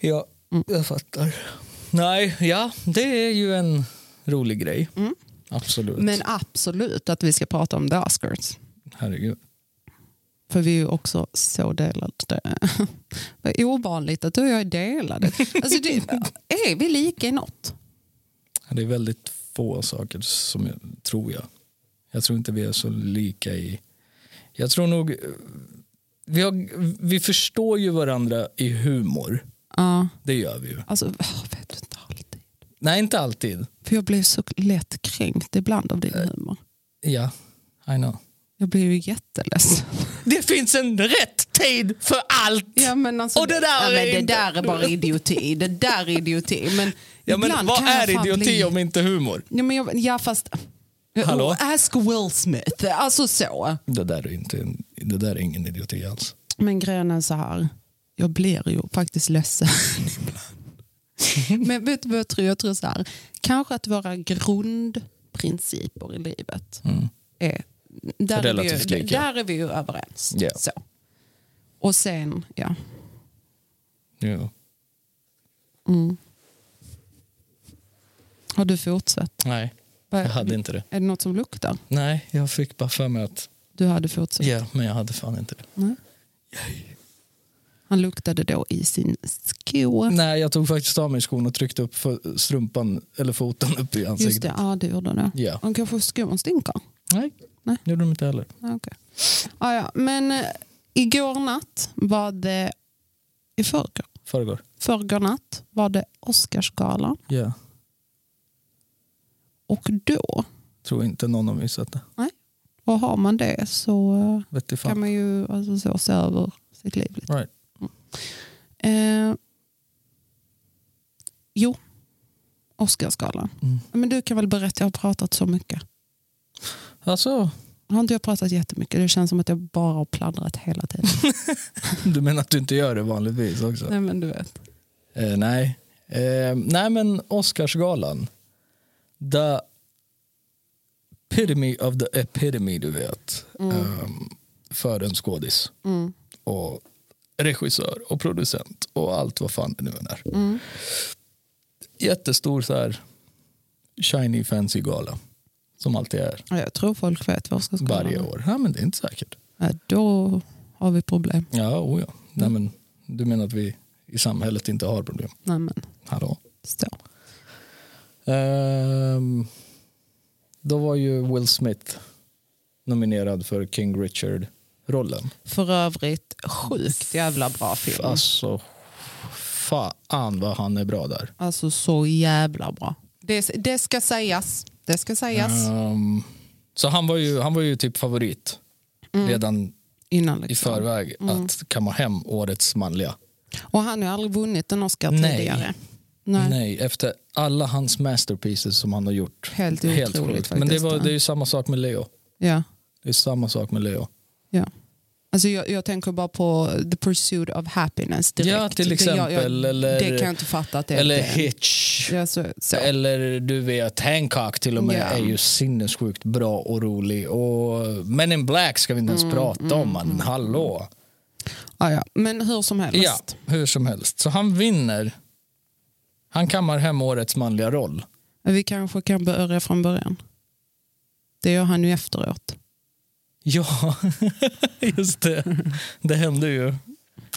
B: Ja, jag fattar. Nej, ja, det är ju en rolig grej. Absolut.
A: Men absolut att vi ska prata om the Oscars.
B: Herregud.
A: För vi är ju också så [LAUGHS] delade. Vad ovanligt att du och jag är delade. Alltså, [LAUGHS] det, är vi lika i något?
B: Det är väldigt få saker som jag tror jag. Jag tror inte vi är så lika i... Jag tror nog... eh, Vi, har, vi förstår ju varandra i humor.
A: Ja.
B: Det gör vi ju.
A: Alltså, jag vet du inte alltid.
B: Nej, inte alltid.
A: För jag blir så lätt kränkt ibland av din humor.
B: Ja, I know.
A: Jag blir ju jätteledsen.
B: Det finns en rätt tid för allt!
A: Ja, men alltså,
B: Och det där
A: ja, men
B: är
A: det
B: inte-
A: där är bara idioti. Det där är idioti. Men
B: Ja, men
A: ibland
B: vad
A: kan jag
B: är
A: fan
B: idioti
A: bli-
B: om inte humor?
A: Ja, men jag, ja, fast...
B: Hallå?
A: Ask Will Smith. Alltså så.
B: Det där är, inte, det där är ingen idioti alls.
A: Men grejen är så här, jag blir ju faktiskt ledsen [LAUGHS] ibland. Men vet du vad jag tror? Jag tror så här, kanske att våra grundprinciper i livet
B: Mm.
A: är, där
B: Relativt
A: är vi ju,
B: lika.
A: där är vi ju överens.
B: Ja.
A: Så. Och sen, ja.
B: Ja.
A: Mm. Har du fortsatt?
B: Nej,
A: Vad-
B: jag hade inte det.
A: Är det något som luktar?
B: Nej, jag fick bara för mig att...
A: Du hade fortsatt?
B: Ja, men jag hade fan inte det.
A: Nej. Han luktade då i sin sko.
B: Nej, jag tog faktiskt av mig skon och tryckte upp för- strumpan eller foten upp i
A: Just
B: ansiktet.
A: det, ja det gjorde det.
B: Ja.
A: Han kanske skon stinker.
B: Nej,
A: Nej.
B: det gjorde de inte heller.
A: Ja, Okej. Ah, ja. Men eh, igår natt var det... I förrgår?
B: Förrgår.
A: Förrgår natt var det Oscarsgala.
B: Ja.
A: Och då,
B: Tror inte någon har missat det.
A: och har man det så eh,
B: Vet du
A: kan
B: fan.
A: man ju alltså, så, se över sitt liv lite. Mm.
B: Right.
A: Eh, jo, Oscarsgalan.
B: Mm.
A: Men du kan väl berätta, jag har pratat så mycket.
B: Alltså,
A: Har inte jag pratat jättemycket? Det känns som att jag bara har pladdrat hela tiden.
B: du menar att du inte gör det vanligtvis också?
A: Nej men du vet.
B: Eh, nej. Eh, nej, men Oscarsgalan. The epitome of the epitome, du vet. Eh, för en skådis.
A: Mm.
B: Och regissör och producent och allt vad fan det nu än är.
A: Mm.
B: Jättestor så här shiny fancy gala. Som alltid är
A: Ja, Jag tror folk vet vad Oscarsgalan
B: varje
A: är.
B: år. Ja, men det är inte säkert.
A: Ja, då har vi problem.
B: Ja, oh ja. Nej, men, du menar att vi i samhället inte har problem?
A: Nej men,
B: Hallå?
A: så.
B: Ehm, då var ju Will Smith nominerad för King Richard-rollen.
A: För övrigt, sjukt jävla bra film.
B: Alltså, fan vad han är bra där.
A: Alltså så jävla bra. Det, det ska sägas. Det ska sägas.
B: Ehm, så han var, ju, han var ju typ favorit redan
A: Mm. Innan
B: i
A: liksom.
B: förväg att kamma hem årets manliga.
A: Och han har ju aldrig vunnit en Oscar
B: Nej.
A: tidigare. Nej.
B: Nej, efter alla hans masterpieces som han har gjort.
A: Helt otroligt
B: sjukt.
A: faktiskt.
B: Men det, var, det är ju samma sak med Leo.
A: Ja.
B: Det är samma sak med Leo.
A: Ja. Alltså jag, jag tänker bara på The Pursuit of Happiness direkt.
B: Ja, till
A: Det- jag- jag-
B: exempel, eller-
A: det kan jag inte fatta att det
B: Eller
A: inte är.
B: Hitch.
A: Ja, så, så.
B: Eller du vet Hancock till och med
A: Ja.
B: är ju sinnessjukt bra och rolig. Och Men in Black ska vi inte ens prata om. Man. Hallå.
A: Ja, ja. Men hur som helst.
B: Ja, hur som helst. Så han vinner. Han kammar hem årets manliga roll.
A: Vi kanske kan börja från början. Det gör han ju efteråt.
B: Ja, just det. Det hände ju.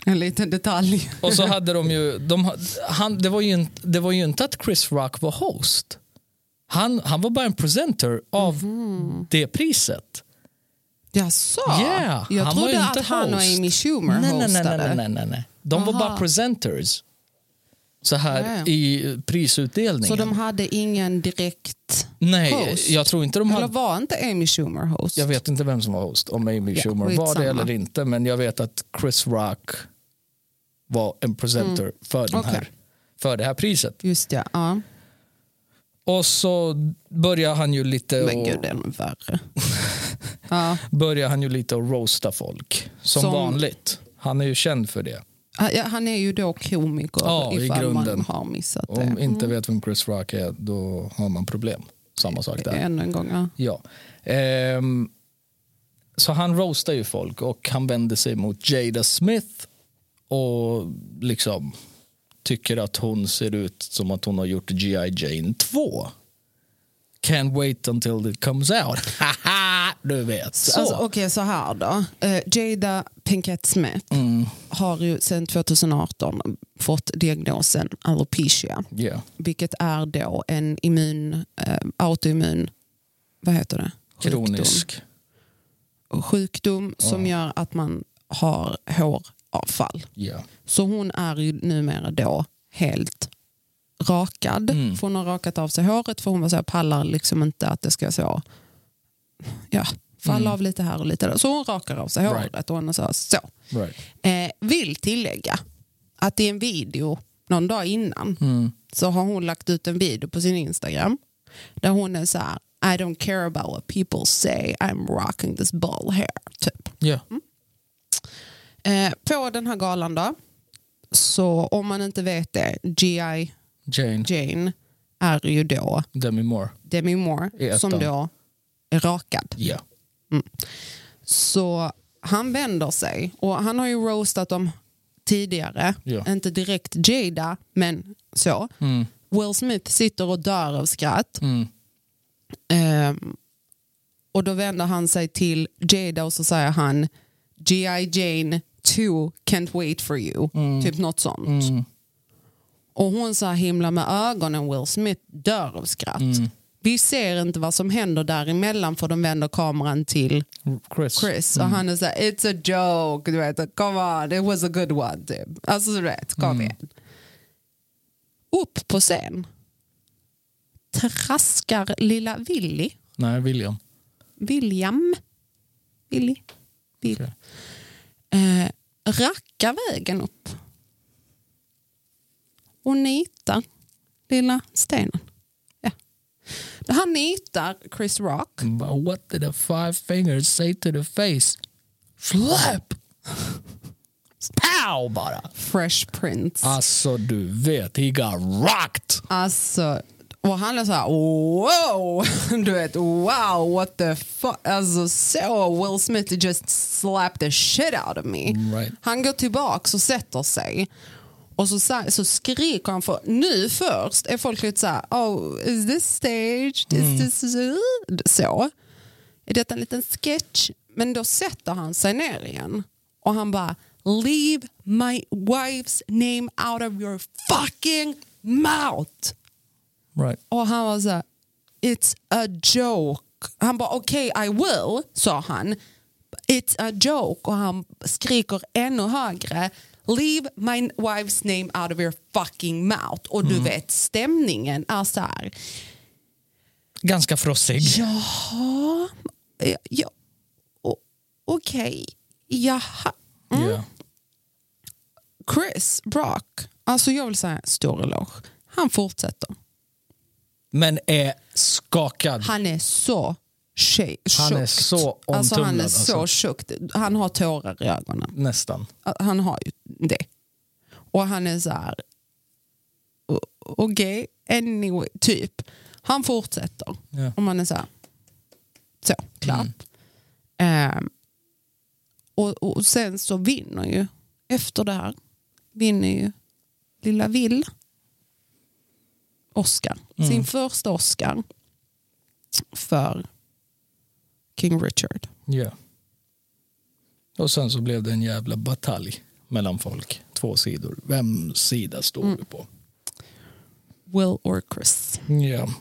A: En liten detalj.
B: Och så hade de ju... De, ha- han, det, var ju inte, det var ju inte att Chris Rock var host. Han, han var bara en presenter av det priset.
A: Jaså?
B: Ja,
A: jag
B: han var
A: trodde
B: ju
A: att
B: inte
A: han och
B: host.
A: Amy Schumer
B: nej, nej, nej,
A: hostade.
B: nej, nej, nej, nej. De var
A: Aha.
B: bara presenters. Så här
A: Ja, ja.
B: i prisutdelningen.
A: Så de hade ingen direkt...
B: nej,
A: host?
B: jag tror inte de
A: Eller
B: hade...
A: var inte Amy Schumer host?
B: Jag vet inte vem som var host, om Amy
A: Ja,
B: Schumer var
A: skitsamma.
B: det eller inte. Men jag vet att Chris Rock var en presenter för, den här,
A: Mm. Okej.
B: för det här priset.
A: Just ja. ja.
B: Och så börjar han ju lite
A: Men
B: och,
A: gud, det är nog
B: [LAUGHS]
A: värre. ja.
B: börjar han ju lite att roasta folk. Som,
A: Som-
B: vanligt. Han är ju känd för det.
A: Han- ja, Han är ju då komiker
B: Ja, i
A: ifall man
B: grunden.
A: har missat det.
B: Om inte vet vem Chris Rock är, då har man problem. Samma sak där.
A: Ännu en gång. Ja.
B: Ja. Ehm, så han roastar ju folk och han vänder sig mot Jada Smith och liksom tycker att hon ser ut som att hon har gjort G.I. Jane 2. Can't wait until it comes out. [LAUGHS] Haha, du vet. Så.
A: Alltså, Okej, så här då. Eh, Jada Pinkett Smith
B: mm,
A: har ju sedan 2018 fått diagnosen alopecia.
B: Ja.
A: Vilket är då en immun, eh, autoimmun, vad heter det? Sjukdom.
B: Kronisk.
A: Sjukdom som gör att man har håravfall.
B: Ja.
A: Så hon är ju numera då helt rakad.
B: Mm.
A: För hon har rakat av sig håret för hon var så här, pallar liksom inte att det ska så ja, falla av lite här och lite där. Så hon rakar av sig
B: Mm. Right.
A: håret och hon är så. här, så.
B: Right.
A: Eh, vill tillägga att i en video någon dag innan
B: Mm,
A: så har hon lagt ut en video på sin Instagram där hon är så här I don't care about what people say I'm rocking this ball hair typ.
B: Ja.
A: Eh, på den här galan då, så om man inte vet det, G.I.
B: Jane.
A: Jane är ju då
B: Demi Moore.
A: Demi
B: I
A: Moore
B: ettan.
A: som då är rakad.
B: Ja.
A: Så han vänder sig och han har ju roastat dem tidigare.
B: Ja.
A: Inte direkt Jada, men så. Will Smith sitter och dör av skratt. Ehm, och då vänder han sig till Jada och så säger han G.I. Jane 2 can't wait for you. Typ något sånt. Och hon så här himlar med ögonen. Will Smith dör av skratt. Vi ser inte vad som händer däremellan för de vänder kameran till
B: Chris.
A: Chris och han är såhär, it's a joke, du vet, come on, it was a good one. Typ. Alltså du vet, kom igen. Upp på scen traskar lilla Willy,
B: Nej, William.
A: William, Willy, Will,
B: Okej.
A: eh, rackar vägen upp och nitar lilla stenen. Ja. Han nitar Chris Rock
B: But what did the five fingers say to the face? Flap! Pow bara!
A: Fresh Prince.
B: Alltså du vet, he got rocked!
A: Alltså, och han är så här, wow, [LAUGHS] du vet, wow, what the fuck. Alltså så, Will Smith just slapped the shit out of me.
B: Right.
A: Han går tillbaks och sätter sig. Och så, sa- så skriker han för, nu först är folk lite så här, oh, is this staged? Is this så? Är detta en liten sketch? Men då sätter han sig ner igen och han bara Leave my wife's name out of your fucking mouth.
B: Right.
A: Och han var så här, it's a joke. Han bara okej I will, sa han. It's a joke. Och han skriker ännu högre. Leave my wife's name out of your fucking mouth. Och
B: Mm.
A: du vet stämningen är så här.
B: Ganska frossig.
A: Jaha, ja, Eh, ja, o- okej, jaha.
B: Ja.
A: Chris Brock, alltså jag vill säga stor eloge. Han fortsätter.
B: Men är skakad.
A: Han är så tjej,
B: Han är
A: tjockt.
B: så
A: alltså, Han är
B: omtumlad,
A: så
B: alltså.
A: tjockt. Han har tårar i ögonen.
B: Nästan.
A: Han har ju det. Och han är så här... o- Okej, anyway, typ. Han fortsätter.
B: Ja.
A: Och man är så här... Så, klapp. Ehm, och, och sen så vinner ju, efter det här, vinner ju lilla Vill Oscar. Sin första Oscar för King Richard.
B: Ja. Och sen så blev det en jävla batalj mellan folk. Två sidor. Vem sida står du på?
A: Will or Chris.
B: Ja.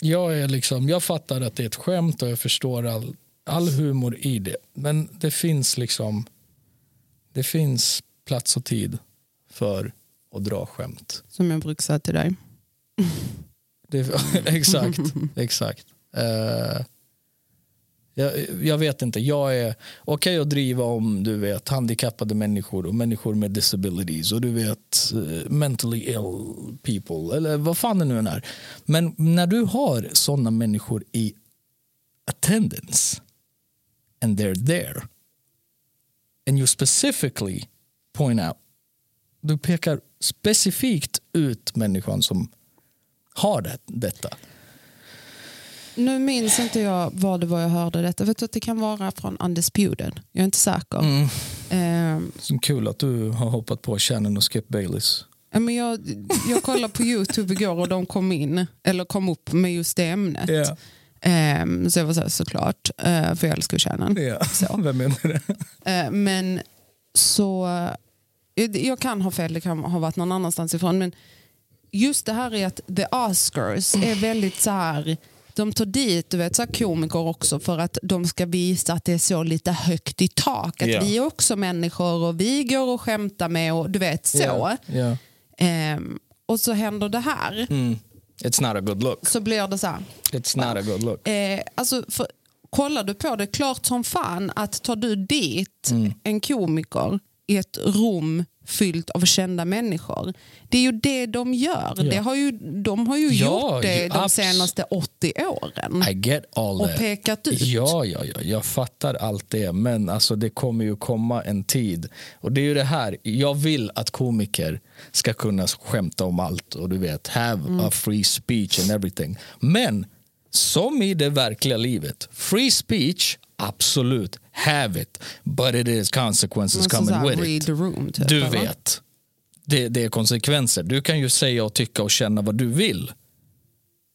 B: Jag, är liksom, jag fattar att det är ett skämt och jag förstår all, all humor i det. Men det finns liksom det finns plats och tid för att dra skämt.
A: Som jag brukar säga till dig.
B: Det, [LAUGHS] exakt. exakt. Eh, jag, jag vet inte. Jag är okej att driva om du vet handikappade människor och människor med disabilities och du vet eh, mentally ill people eller vad fan det nu än är. Men när du har sådana människor i attendance and they're there and you specifically point out du pekar specifikt ut människan som har det, detta.
A: Nu minns inte jag vad det var jag hörde detta. Vet du att det kan vara från Undisputed. Jag är inte säker. Ehm,
B: Så kul att du har hoppat på Shannon och Skip Baileys.
A: ja, men jag, jag kollade på YouTube igår och de kom in, eller kom upp med just det ämnet. Ehm, så jag var så här, såklart, eh, för jag älskar ju kärnan.
B: [LAUGHS]
A: Så.
B: Vem menar det?
A: Eh, men så, eh, jag kan ha fel, det kan ha varit någon annanstans ifrån. Men just det här är att the Oscars är väldigt så här, de tar dit du vet, så här komiker också för att de ska visa att det är så lite högt i tak. Att
B: Ja.
A: vi är också människor och vi går och skämtar med och du vet så. Ehm, och så händer det här.
B: Mm. It's not a good look.
A: Så blir det så här.
B: It's not a good look.
A: Eh, alltså, för, kollar du på det, klart som fan att tar du dit
B: Mm.
A: en komiker i ett rum fyllt av kända människor. Det är ju det de gör. Det har ju, de har ju
B: Ja,
A: gjort det
B: ju-
A: de
B: abs-
A: senaste 80 åren.
B: I get all
A: Mm. Och
B: that.
A: pekat ut.
B: Ja, ja, ja, jag fattar allt det. Men alltså, det kommer ju komma en tid. Och det är ju det här. Jag vill att komiker ska kunna skämta om allt och du vet, have
A: Mm.
B: a free speech and everything. Men som i det verkliga livet, free speech, absolut, have it. But it is consequences
A: Alltså
B: coming
A: så här,
B: with
A: read
B: it.
A: the room, typ,
B: du
A: eller?
B: vet. Det, det är konsekvenser. Du kan ju säga och tycka och känna vad du vill.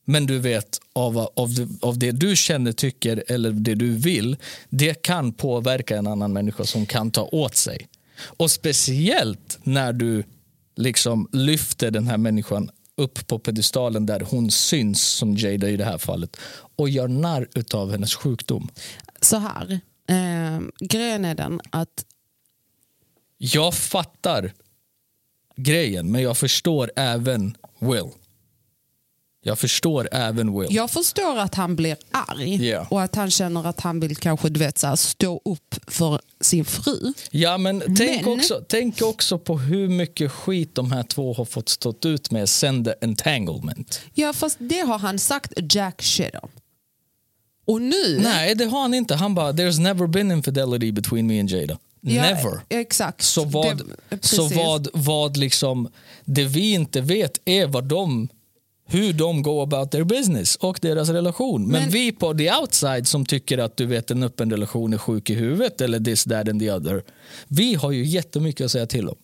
B: Men du vet, av, av, det- av det du känner, tycker eller det du vill, det kan påverka en annan människa som kan ta åt sig. Och speciellt när du liksom lyfter den här människan upp på pedestalen där hon syns, som Jada i det här fallet, och gör narr av hennes sjukdom.
A: Så här, eh, grejen är den att
B: Jag fattar grejen, men jag förstår även Will. Jag förstår även Will.
A: jag förstår att han blir arg
B: Ja.
A: och att han känner att han vill kanske du vet, så här, stå upp för sin fru.
B: Ja, men tänk,
A: Men-
B: Också, tänk också på hur mycket skit de här två har fått stått ut med sen the entanglement.
A: Ja, fast det har han sagt jack shit om. Och nu...
B: Nej, det har han inte. Han bara, there's never been infidelity between me and Jada.
A: Ja,
B: Never.
A: Exakt.
B: Så vad,
A: Det-
B: så
A: precis.
B: vad, vad liksom, det vi inte vet är vad de, hur de går about their business och deras relation. Men,
A: Men-
B: vi på the outside som tycker att du vet en öppen relation är sjuk i huvudet eller this, that and the other. Vi har ju jättemycket att säga till om.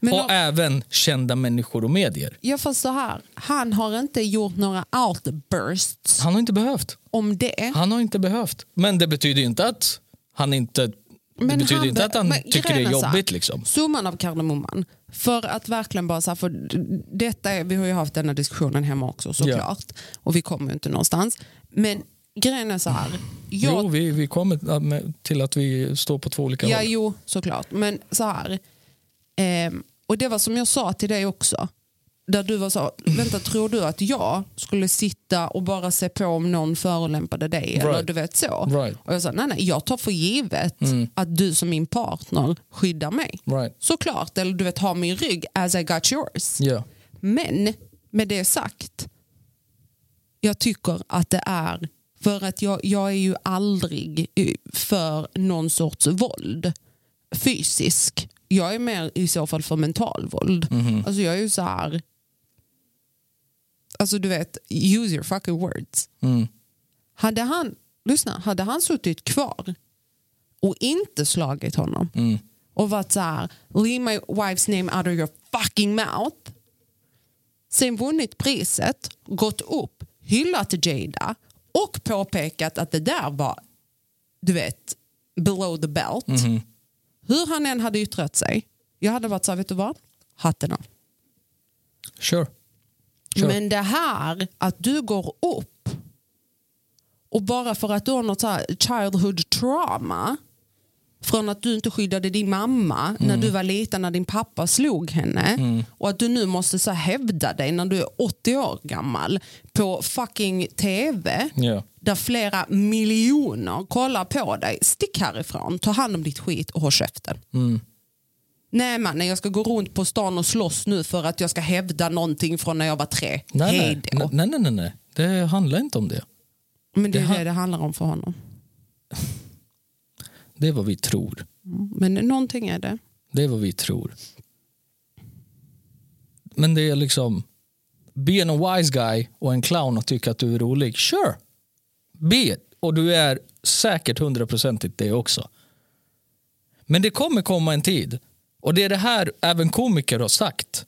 A: Men
B: och
A: om-
B: även kända människor och medier.
A: Ja, fast så här. Han har inte gjort några outbursts
B: Han har inte behövt.
A: om det.
B: Han har inte behövt. Men det betyder ju inte att han inte det betyder
A: han
B: inte
A: be-
B: att han
A: men
B: tycker det
A: grejen
B: är
A: så här,
B: jobbigt. Liksom.
A: Summan av kardemumman. För att verkligen bara så här, för d- detta är, vi har ju haft denna diskussionen hemma också såklart. Och vi kommer ju inte någonstans. Men grejen är så här. Jag
B: Jo, vi, vi kommer med- till att vi står på två olika
A: Ja,
B: håll.
A: jo, såklart. Men så här. Ehm, och det var som jag sa till dig också. Där du var så, vänta tror du att jag skulle sitta och bara se på om någon förolämpade dig? Eller
B: Right.
A: du vet så.
B: Right. Mm.
A: Och jag sa, nej nej, jag tar för givet att du som min partner skyddar mig.
B: Right.
A: Såklart, eller du vet ha min rygg as I got yours.
B: Ja.
A: Men med det sagt, jag tycker att det är för att jag, jag är ju aldrig eh, för någon sorts våld. Fysisk. Jag är mer i så fall för mental våld. Alltså jag är ju så här... Alltså du vet, use your fucking words.
B: Mm.
A: Hade han, lyssna, hade han suttit kvar och inte slagit honom och varit så här, leave my wife's name out of your fucking mouth. Sen vunnit priset, gått upp, hyllat Jada och påpekat att det där var, du vet, below the belt. Hur han än hade yttrat sig, jag hade varit så här, vet du vad? Hatten av.
B: Sure. Sure.
A: Men det här att du går upp och bara för att du har något så här childhood trauma från att du inte skyddade din mamma när du var liten när din pappa slog henne och att du nu måste så här hävda dig när du är 80 år gammal på fucking tv
B: Ja.
A: där flera miljoner kollar på dig. Stick härifrån, ta hand om ditt skit och håll käften.
B: Mm.
A: Nej mannen, jag ska gå runt på stan och slåss nu för att jag ska hävda någonting från när jag var tre.
B: Nej,
A: Hej
B: nej.
A: då.
B: Nej, nej, nej, nej. Det handlar inte om det.
A: Men det är
B: Jaha.
A: det det handlar om för honom.
B: Det är vad vi tror.
A: Mm. Men någonting är det.
B: Det är vad vi tror. Men det är liksom, be a wise guy och en clown och tycka att du är rolig. Sure, be it. Och du är säkert hundraprocentigt det också. Men det kommer komma en tid. Och det är det här även komiker har sagt.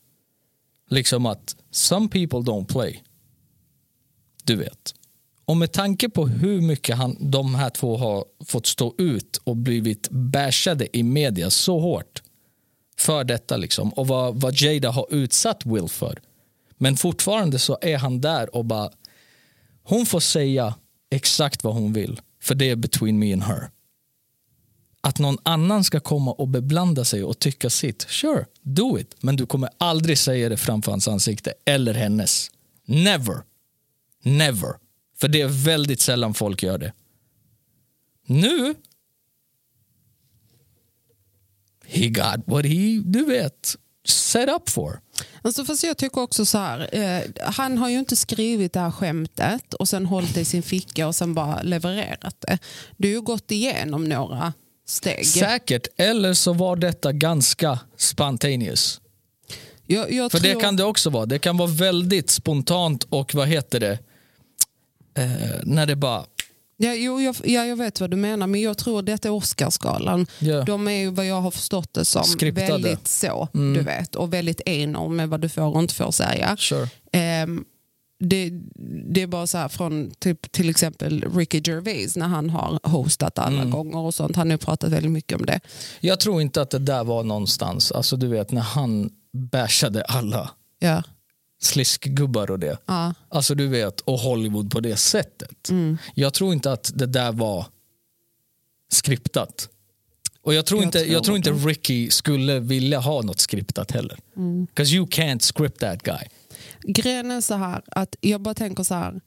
B: Liksom att some people don't play. Du vet. Och med tanke på hur mycket han, de här två har fått stå ut och blivit bashade i media så hårt för detta liksom och vad, vad Jada har utsatt Will för. Men fortfarande så är han där och bara hon får säga exakt vad hon vill för det är between me and her. Att någon annan ska komma och beblanda sig och tycka sitt, sure, do it. Men du kommer aldrig säga det framför hans ansikte eller hennes. Never. Never. För det är väldigt sällan folk gör det. Nu... He got what he, du vet, set up for.
A: Alltså fast jag tycker också så här, eh, han har ju inte skrivit det här skämtet och sen hållit det i sin ficka och sen bara levererat det. Du har ju gått igenom några steg.
B: Säkert, eller så var detta ganska spontaneous.
A: Jag, jag
B: För det
A: tror-
B: kan det också vara. Det kan vara väldigt spontant och vad heter det? Eh, när det bara...
A: Ja, jo, jag, ja, jag vet vad du menar, men jag tror detta är Oscarsgalan.
B: Ja.
A: De är ju vad jag har förstått det som
B: Skriptade. Mm.
A: väldigt så, du vet, och väldigt enorm med vad du får och inte får säga.
B: Sure.
A: Ehm, det, det är bara så här från typ, till exempel Ricky Gervais när han har hostat alla
B: Mm.
A: gånger och sånt. Han har ju pratat väldigt mycket om det.
B: Jag tror inte att det där var någonstans. Alltså du vet när han bashade alla
A: Ja.
B: sliskgubbar och det.
A: Ja.
B: Alltså du vet, och Hollywood på det sättet.
A: Mm.
B: Jag tror inte att det där var skriptat. Och jag tror,
A: Jag
B: inte,
A: tror
B: jag tror inte Ricky skulle vilja ha något skriptat heller.
A: Mm.
B: Because you can't script that guy.
A: Grejen är så här att jag bara tänker så här.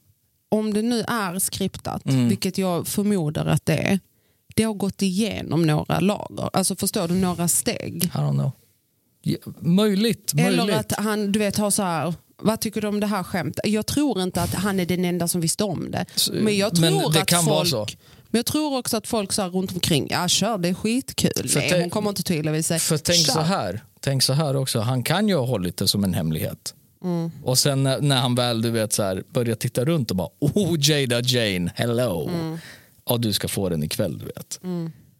A: Om det nu är skriptat,
B: Mm.
A: vilket jag förmodar att det är. Det har gått igenom några lager, alltså förstår du, några steg.
B: I don't know. Ja, möjligt, möjligt.
A: Eller att han du vet, har så här, vad tycker du om det här skämtet? Jag tror inte att han är den enda som visste om det.
B: Så,
A: Men jag tror
B: men det
A: att
B: kan
A: folk,
B: vara så.
A: Men jag tror också att folk så här runt omkring, ja kör det är skitkul.
B: För
A: Nej,
B: tänk-
A: hon kommer inte till vid sig.
B: För tänk
A: Kör.
B: så här, tänk så här också, han kan ju ha hållit det som en hemlighet.
A: Mm.
B: Och sen när, när han väl du vet så här, börjar titta runt och bara oh Jada Jane, hello.
A: Mm.
B: Ja du ska få den ikväll du vet.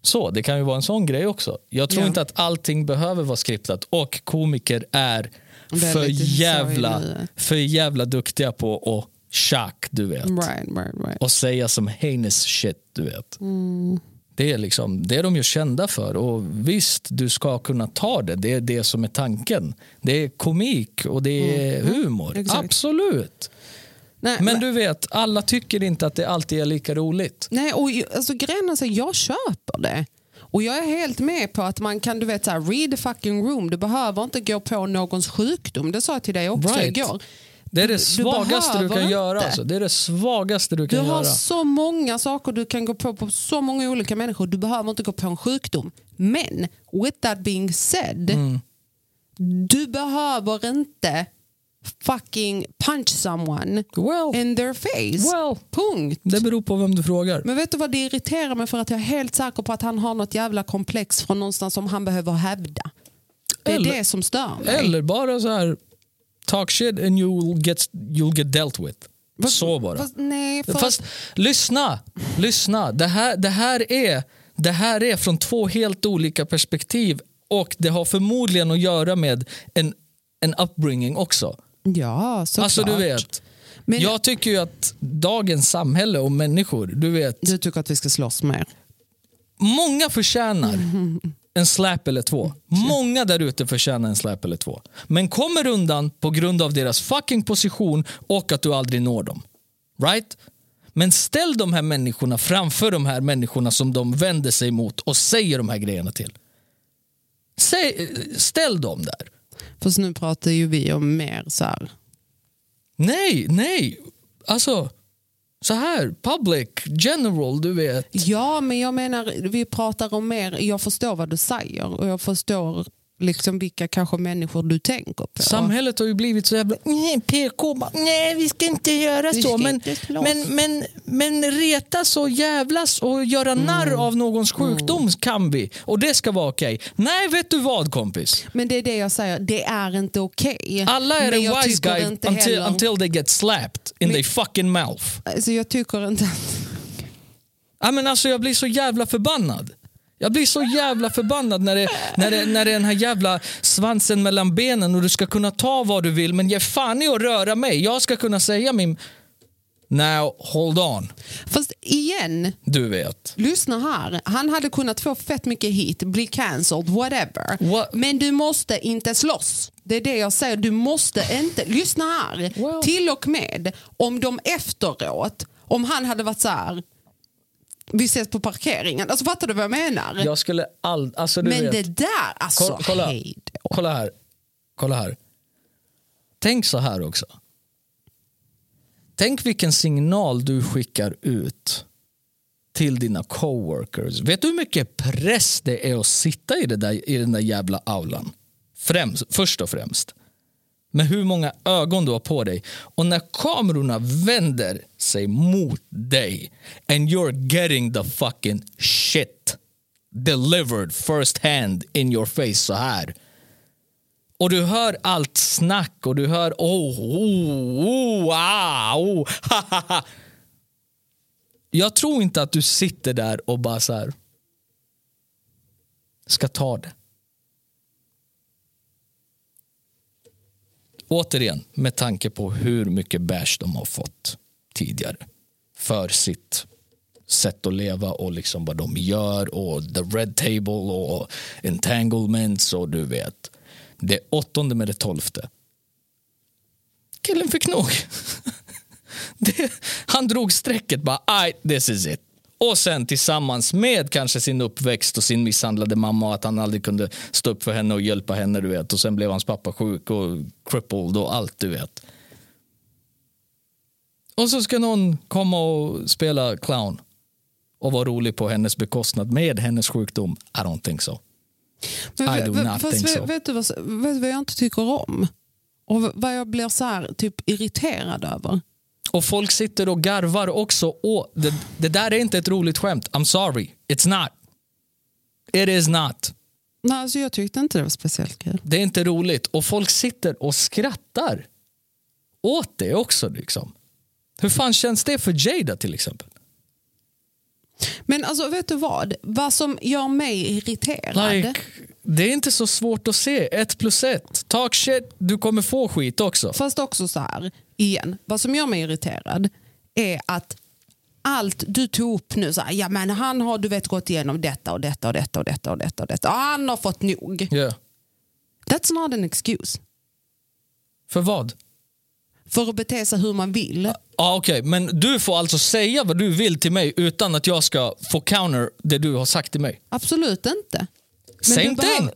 B: Så det kan ju vara en sån grej också. Jag tror
A: Ja.
B: inte att allting behöver vara skriptat och komiker är
A: Väldigt
B: för
A: så i
B: jävla,
A: nuet.
B: för jävla duktiga på att tjack du vet.
A: Right, right, right.
B: Och säga som heinous shit du vet. Det är, liksom, det är de ju kända för. Och visst, du ska kunna ta det. Det är det som är tanken. Det är komik och det är humor.
A: Mm. Exakt.
B: Absolut.
A: Nej,
B: Men du vet, alla tycker inte att det alltid är lika roligt.
A: Nej, och ju- alltså, grejen är så här, jag köper det. Och jag är helt med på att man kan, du vet, så här, read the fucking room. Du behöver inte gå på någons sjukdom. Det sa jag till dig också
B: Right.
A: igår.
B: Det är det
A: Du- du
B: svagaste du, kan
A: behöver
B: göra.
A: inte.
B: Alltså. Det är det svagaste du
A: Du
B: kan
A: har
B: göra.
A: så många saker du kan gå på, på så många olika människor. Du behöver inte gå på en sjukdom. Men with that being said,
B: Mm.
A: du behöver inte fucking punch someone
B: Well,
A: in their face.
B: Oh. well,
A: Punkt.
B: det beror på vem du frågar.
A: Men vet du vad det irriterar mig för att jag är helt säker på att han har något jävla komplex från någonstans som han behöver hävda. Det är
B: Eller-
A: det som stör mig.
B: Eller bara så här, talk shit and you'll get, you'll get dealt with. så bara.
A: Fast, nej, för
B: Fast, lyssna, lyssna. Det här, det, här är, det här är från två helt olika perspektiv och det har förmodligen att göra med en, en upbringing också.
A: ja, såklart.
B: alltså du vet,
A: Men-
B: jag tycker ju att dagens samhälle och människor, du vet,
A: Du tycker att vi ska slåss mer?
B: många förtjänar en släp eller två. Många där ute förtjänar en släp eller två. Men kommer undan på grund av deras fucking position och att du aldrig når dem. Right? Men ställ de här människorna framför de här människorna som de vänder sig mot och säger de här grejerna till. Säg, ställ dem där.
A: Fast nu pratar ju vi om mer så här.
B: Nej, nej. Alltså, så här. Public, general, du vet.
A: Ja, men jag menar, vi pratar om mer. Jag förstår vad du säger och jag förstår liksom vilka kanske människor du tänker på.
B: Samhället har ju blivit så jävla nej, PK. bara, Nej, vi ska inte göra
A: Vi
B: så.
A: ska
B: Men,
A: inte slåss."
B: men, men, men retas och jävlas och göra
A: Mm.
B: narr av någons sjukdom kan vi. Och det ska vara okej. Nej, vet du vad kompis?
A: men det är det jag säger, det är inte okej.
B: Alla är
A: Men
B: en
A: jag
B: wise
A: tycker
B: guy
A: inte
B: until,
A: heller-
B: until they get slapped in their fucking mouth.
A: Alltså, jag tycker inte att...
B: Ja, men alltså, jag blir så jävla förbannad. Jag blir så jävla förbannad när det, när, det, när det är den här jävla svansen mellan benen och du ska kunna ta vad du vill men ge fan i att röra mig. Jag ska kunna säga min... Now, hold on.
A: Fast igen,
B: Du vet.
A: lyssna här. Han hade kunnat få fett mycket hit, bli cancelled, whatever.
B: What-
A: Men du måste inte slåss. Det är det jag säger. Du måste inte... Lyssna här.
B: Well-
A: Till och med om de efteråt, om han hade varit så här... Vi ses på parkeringen. Alltså fattar du vad jag menar?
B: Jag skulle aldrig... Alltså, du
A: Men
B: vet.
A: det där, alltså
B: Ko- kolla,
A: hej då.
B: kolla här. Kolla här. Tänk så här också. Tänk vilken signal du skickar ut till dina coworkers. Vet du hur mycket press det är att sitta i, det där, i den där jävla aulan? Främst, först och främst. Med hur många ögon du har på dig. Och när kamerorna vänder sig mot dig and you're getting the fucking shit delivered first hand in your face så här. Och du hör allt snack och du hör oh, oh, oh, ah, oh, [LAUGHS] ha, ha, ha. Jag tror inte att du sitter där och bara så här ska ta det. Återigen, med tanke på hur mycket bash de har fått tidigare för sitt sätt att leva och liksom vad de gör och the red table och entanglements och du vet. Det åttonde med det tolfte. Killen fick nog. [LAUGHS] Det, han drog strecket bara, "Aj, this is it. Och sen tillsammans med kanske sin uppväxt och sin misshandlade mamma och att han aldrig kunde stå upp för henne och hjälpa henne. du vet. Och sen blev hans pappa sjuk och crippled och allt du vet. Och så ska någon komma och spela clown och vara rolig på hennes bekostnad med hennes sjukdom. I don't think so.
A: Men
B: I do
A: v-
B: not
A: fast
B: think
A: vet-
B: so.
A: Vet du vad, vet du vad jag inte tycker om? Och v- vad jag blir så här, typ irriterad över?
B: Och folk sitter och garvar också. åt det, det där är inte ett roligt skämt. I'm sorry. It's not. It is not.
A: Nej, alltså jag tyckte inte det var speciellt kul.
B: Det är inte roligt. Och folk sitter och skrattar åt det också. Liksom. Hur fan känns det för Jada till exempel?
A: Men alltså, vet du vad? Vad som gör mig irriterad.
B: Like, det är inte så svårt att se. Ett plus ett. Talk shit. Du kommer få skit också.
A: Fast också så här, igen. Vad som gör mig irriterad är att allt du tog upp nu, så här, ja men han har du vet gått igenom detta och detta och detta och detta och detta och detta. Och han har fått nog.
B: Ja.
A: That's not an excuse.
B: För vad?
A: För att bete sig hur man vill.
B: Ja, okej. Men du får alltså säga vad du vill till mig utan att jag ska få counter det du har sagt till mig.
A: Absolut inte. Men
B: Same
A: du
B: thing!
A: behöver-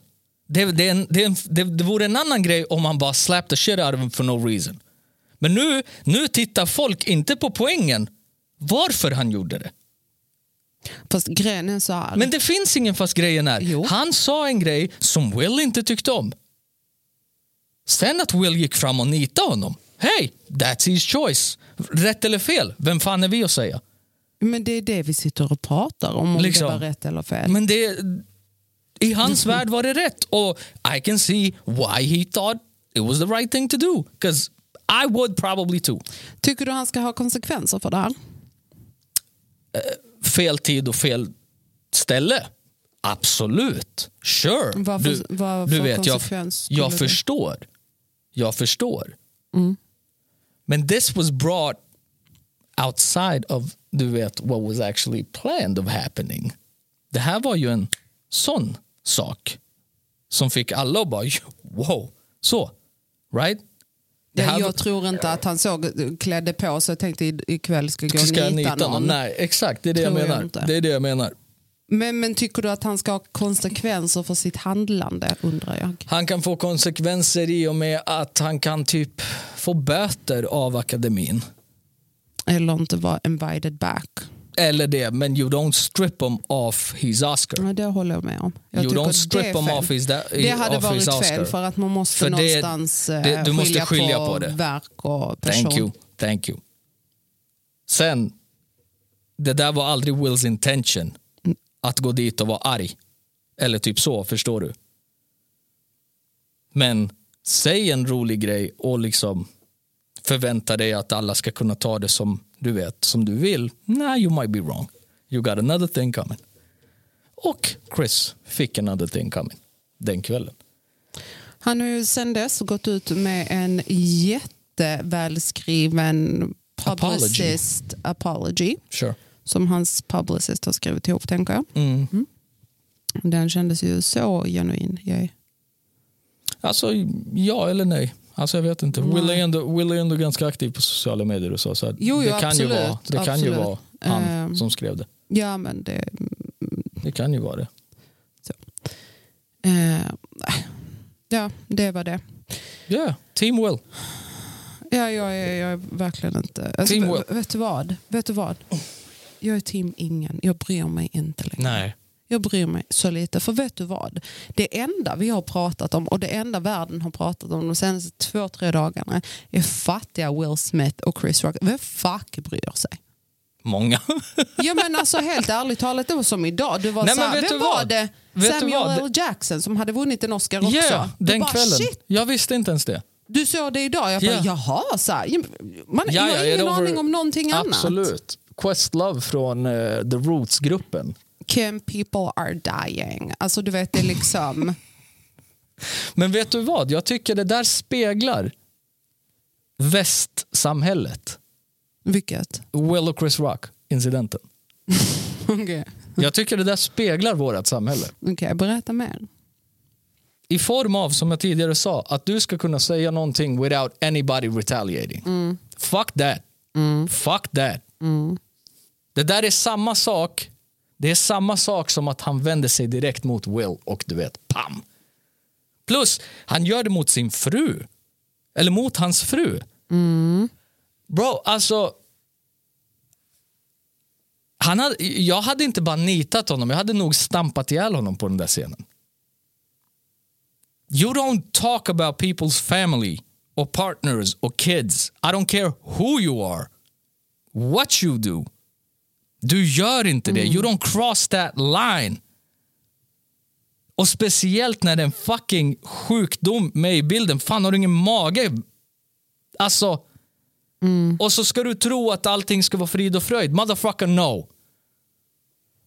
B: Det, det, är en- det, är en- det, det vore en annan grej om han bara slapped the shit out of him for no reason. Men nu, nu tittar folk inte på poängen varför han gjorde det.
A: Fast grejen är så här.
B: Men det finns ingen fast grejen är.
A: Jo.
B: Han sa en grej som Will inte tyckte om. Sen att Will gick fram och nitade honom. Hej, that's his choice. Rätt eller fel, vem fan är vi att säga?
A: Men det är det vi sitter och pratar om, om
B: Liksom.
A: det var rätt eller fel.
B: Men det... I hans värld var det rätt. Och I can see why he thought it was the right thing to do. Because I would probably too.
A: Tycker du han ska ha konsekvenser för det här?
B: Fel tid och fel ställe. Absolut. Sure.
A: Vad för- vad för konsekvens skulle Mm.
B: jag, jag
A: det-
B: förstår. Jag förstår. Men this was brought outside of du vet, what was actually planned of happening. Det här var ju en sån sak som fick alla att bara wow. Så, right? Det här-
A: jag tror inte att han såg, klädde på sig och tänkte i- ikväll ska jag gå
B: ska jag
A: och nita någon.
B: Nej, exakt. Det är det jag
A: Tror jag
B: menar.
A: inte.
B: det är det jag menar.
A: Men, men tycker du att han ska ha konsekvenser för sitt handlande undrar jag.
B: Han kan få konsekvenser i och med att han kan typ få böter av akademin.
A: Eller inte vara invited back.
B: Eller det, men you don't strip him off his Oscar.
A: Ja, det håller jag med om. Jag
B: You
A: tycker
B: don't
A: att
B: strip
A: det är
B: him
A: fel.
B: off his da-
A: Det hade
B: off his
A: varit fel
B: Oscar.
A: för att man måste
B: För det-
A: någonstans eh,
B: det- du måste skilja på det.
A: verk och person.
B: Thank you, thank you. Sen, det där var aldrig Wills intention. Att gå dit och vara arg. Eller typ så, förstår du. Men säg en rolig grej och liksom förvänta dig att alla ska kunna ta det som du vet, som du vill. Nah, you might be wrong. You got another thing coming. Och Chris fick another thing coming den kvällen.
A: Han har ju sedan dess gått ut med en jättevälskriven publicist apology.
B: Sure.
A: Som hans publicist har skrivit ihop tänker jag. Mm. Den kändes ju så genuin. Jag
B: Alltså, ja eller nej. Alltså jag vet inte. Will är, ändå, Will är ändå ganska aktiv på sociala medier och så. så att
A: Jo, jo,
B: det kan, ju
A: absolut,
B: vara, det kan ju
A: absolut.
B: vara han
A: Ehm.
B: som skrev det.
A: Ja, men det...
B: Det kan ju vara det.
A: Eh, ja, det var det.
B: Ja, yeah. team Will.
A: Ja, jag, är, jag är verkligen inte... Alltså,
B: Team
A: v-
B: Will.
A: vet, du vad? vet du vad? Jag är team ingen. Jag bryr mig inte längre. Jag bryr mig så lite. För vet du vad? Det enda vi har pratat om och det enda världen har pratat om de senaste två, tre dagarna är fattiga Will Smith och Chris Rock. Vem fuck bryr sig?
B: Många.
A: Ja men alltså helt ärligt talat, det var som idag. Du var
B: Nej,
A: så här,
B: men vet
A: vem
B: du
A: var
B: vad?
A: det?
B: Vet du
A: Samuel
B: vad?
A: L. Jackson som hade vunnit en Oscar [LAUGHS] också.
B: yeah,
A: Du
B: den
A: bara,
B: kvällen.
A: Shit,
B: Jag visste inte ens det.
A: du såg det idag. Jag bara,
B: Ja.
A: jaha, så här. Man,
B: Ja,
A: jag
B: ja,
A: har
B: är
A: ingen
B: det over-
A: aning om någonting annat.
B: Absolut. Questlove från eh, The Roots-gruppen.
A: Can people are dying. Alltså du vet, det är
B: [LAUGHS]
A: liksom...
B: Men vet du vad? Jag tycker det där speglar västsamhället.
A: Vilket?
B: Will och Chris Rock-incidenten.
A: Okej,
B: Jag tycker det där speglar vårt samhälle.
A: Okej, berätta mer.
B: i form av, som jag tidigare sa, att du ska kunna säga någonting without anybody retaliating. Fuck that. Fuck that. Det där är samma sak. Det är samma sak som att han vänder sig direkt mot Will och du vet, pam. Plus, han gör det mot sin fru. Eller mot hans fru. Bro, alltså. Han hade, jag hade inte bara nitat honom, jag hade nog stampat ihjäl honom på den där scenen. You don't talk about people's family or partners or kids. I don't care who you are, what you do. Du gör inte det. You don't cross that line. Och speciellt när det är en fucking sjukdom med i bilden. Fan, har du ingen mage? Alltså. Och så ska du tro att allting ska vara frid och fröjd. Motherfucker no.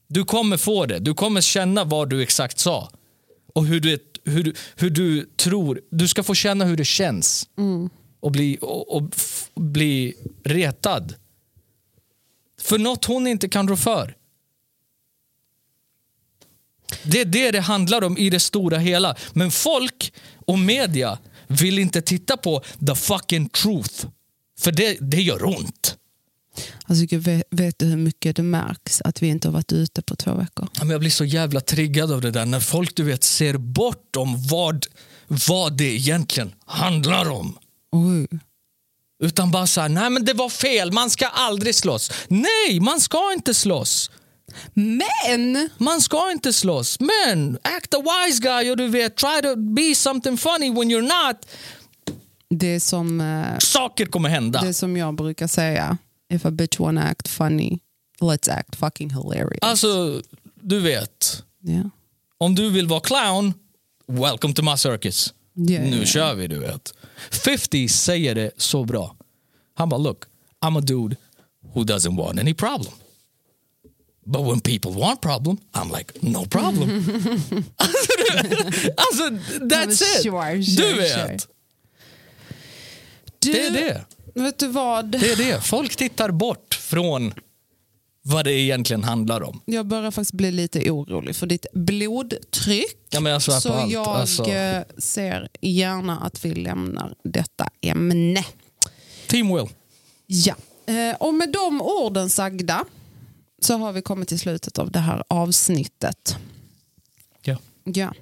B: Du kommer få det. Du kommer känna vad du exakt sa. Och hur du, hur, du- hur du tror. Du ska få känna hur det känns. Och, bli, och, och f- bli retad. För något hon inte kan rå för. Det är det det handlar om i det stora hela. Men folk och media vill inte titta på the fucking truth. För det, det gör ont.
A: Alltså, gud, vet, vet du hur mycket det märks att vi inte har varit ute på två veckor?
B: Ja, men Jag blir så jävla triggad av det där när folk du vet ser bort om vad, vad det egentligen handlar om.
A: Oj.
B: Utan bara så här, nej men det var fel, man ska aldrig slåss. Nej, man ska inte slåss.
A: Men!
B: Man ska inte slåss. Men act a wise guy och du vet, try to be something funny when you're not.
A: Det är som, eh,
B: Saker kommer hända.
A: det är som jag brukar säga. If a bitch wanna act funny, let's act fucking hilarious.
B: Alltså, du vet.
A: Ja.
B: Om du vill vara clown, welcome to my circus.
A: Ja,
B: nu
A: ja, ja.
B: kör vi, du vet. 50 säger det så bra. Han bara, look, I'm a dude who doesn't want any problem. But when people want problem, I'm like, no problem.
A: [LAUGHS]
B: alltså, du- alltså, that's
A: men
B: it.
A: sure, sure,
B: du vet.
A: sure. Du,
B: Det är det.
A: Vet du vad?
B: Det är det. Folk tittar bort från vad det egentligen handlar om.
A: Jag börjar faktiskt bli lite orolig för ditt blodtryck.
B: Ja, men jag svär på
A: så
B: allt,
A: jag
B: alltså.
A: eh, ser gärna att vi lämnar detta ämne.
B: Team will.
A: Ja. Eh, Och med de orden sagda så har vi kommit till slutet av det här avsnittet.
B: Ja.
A: Ja.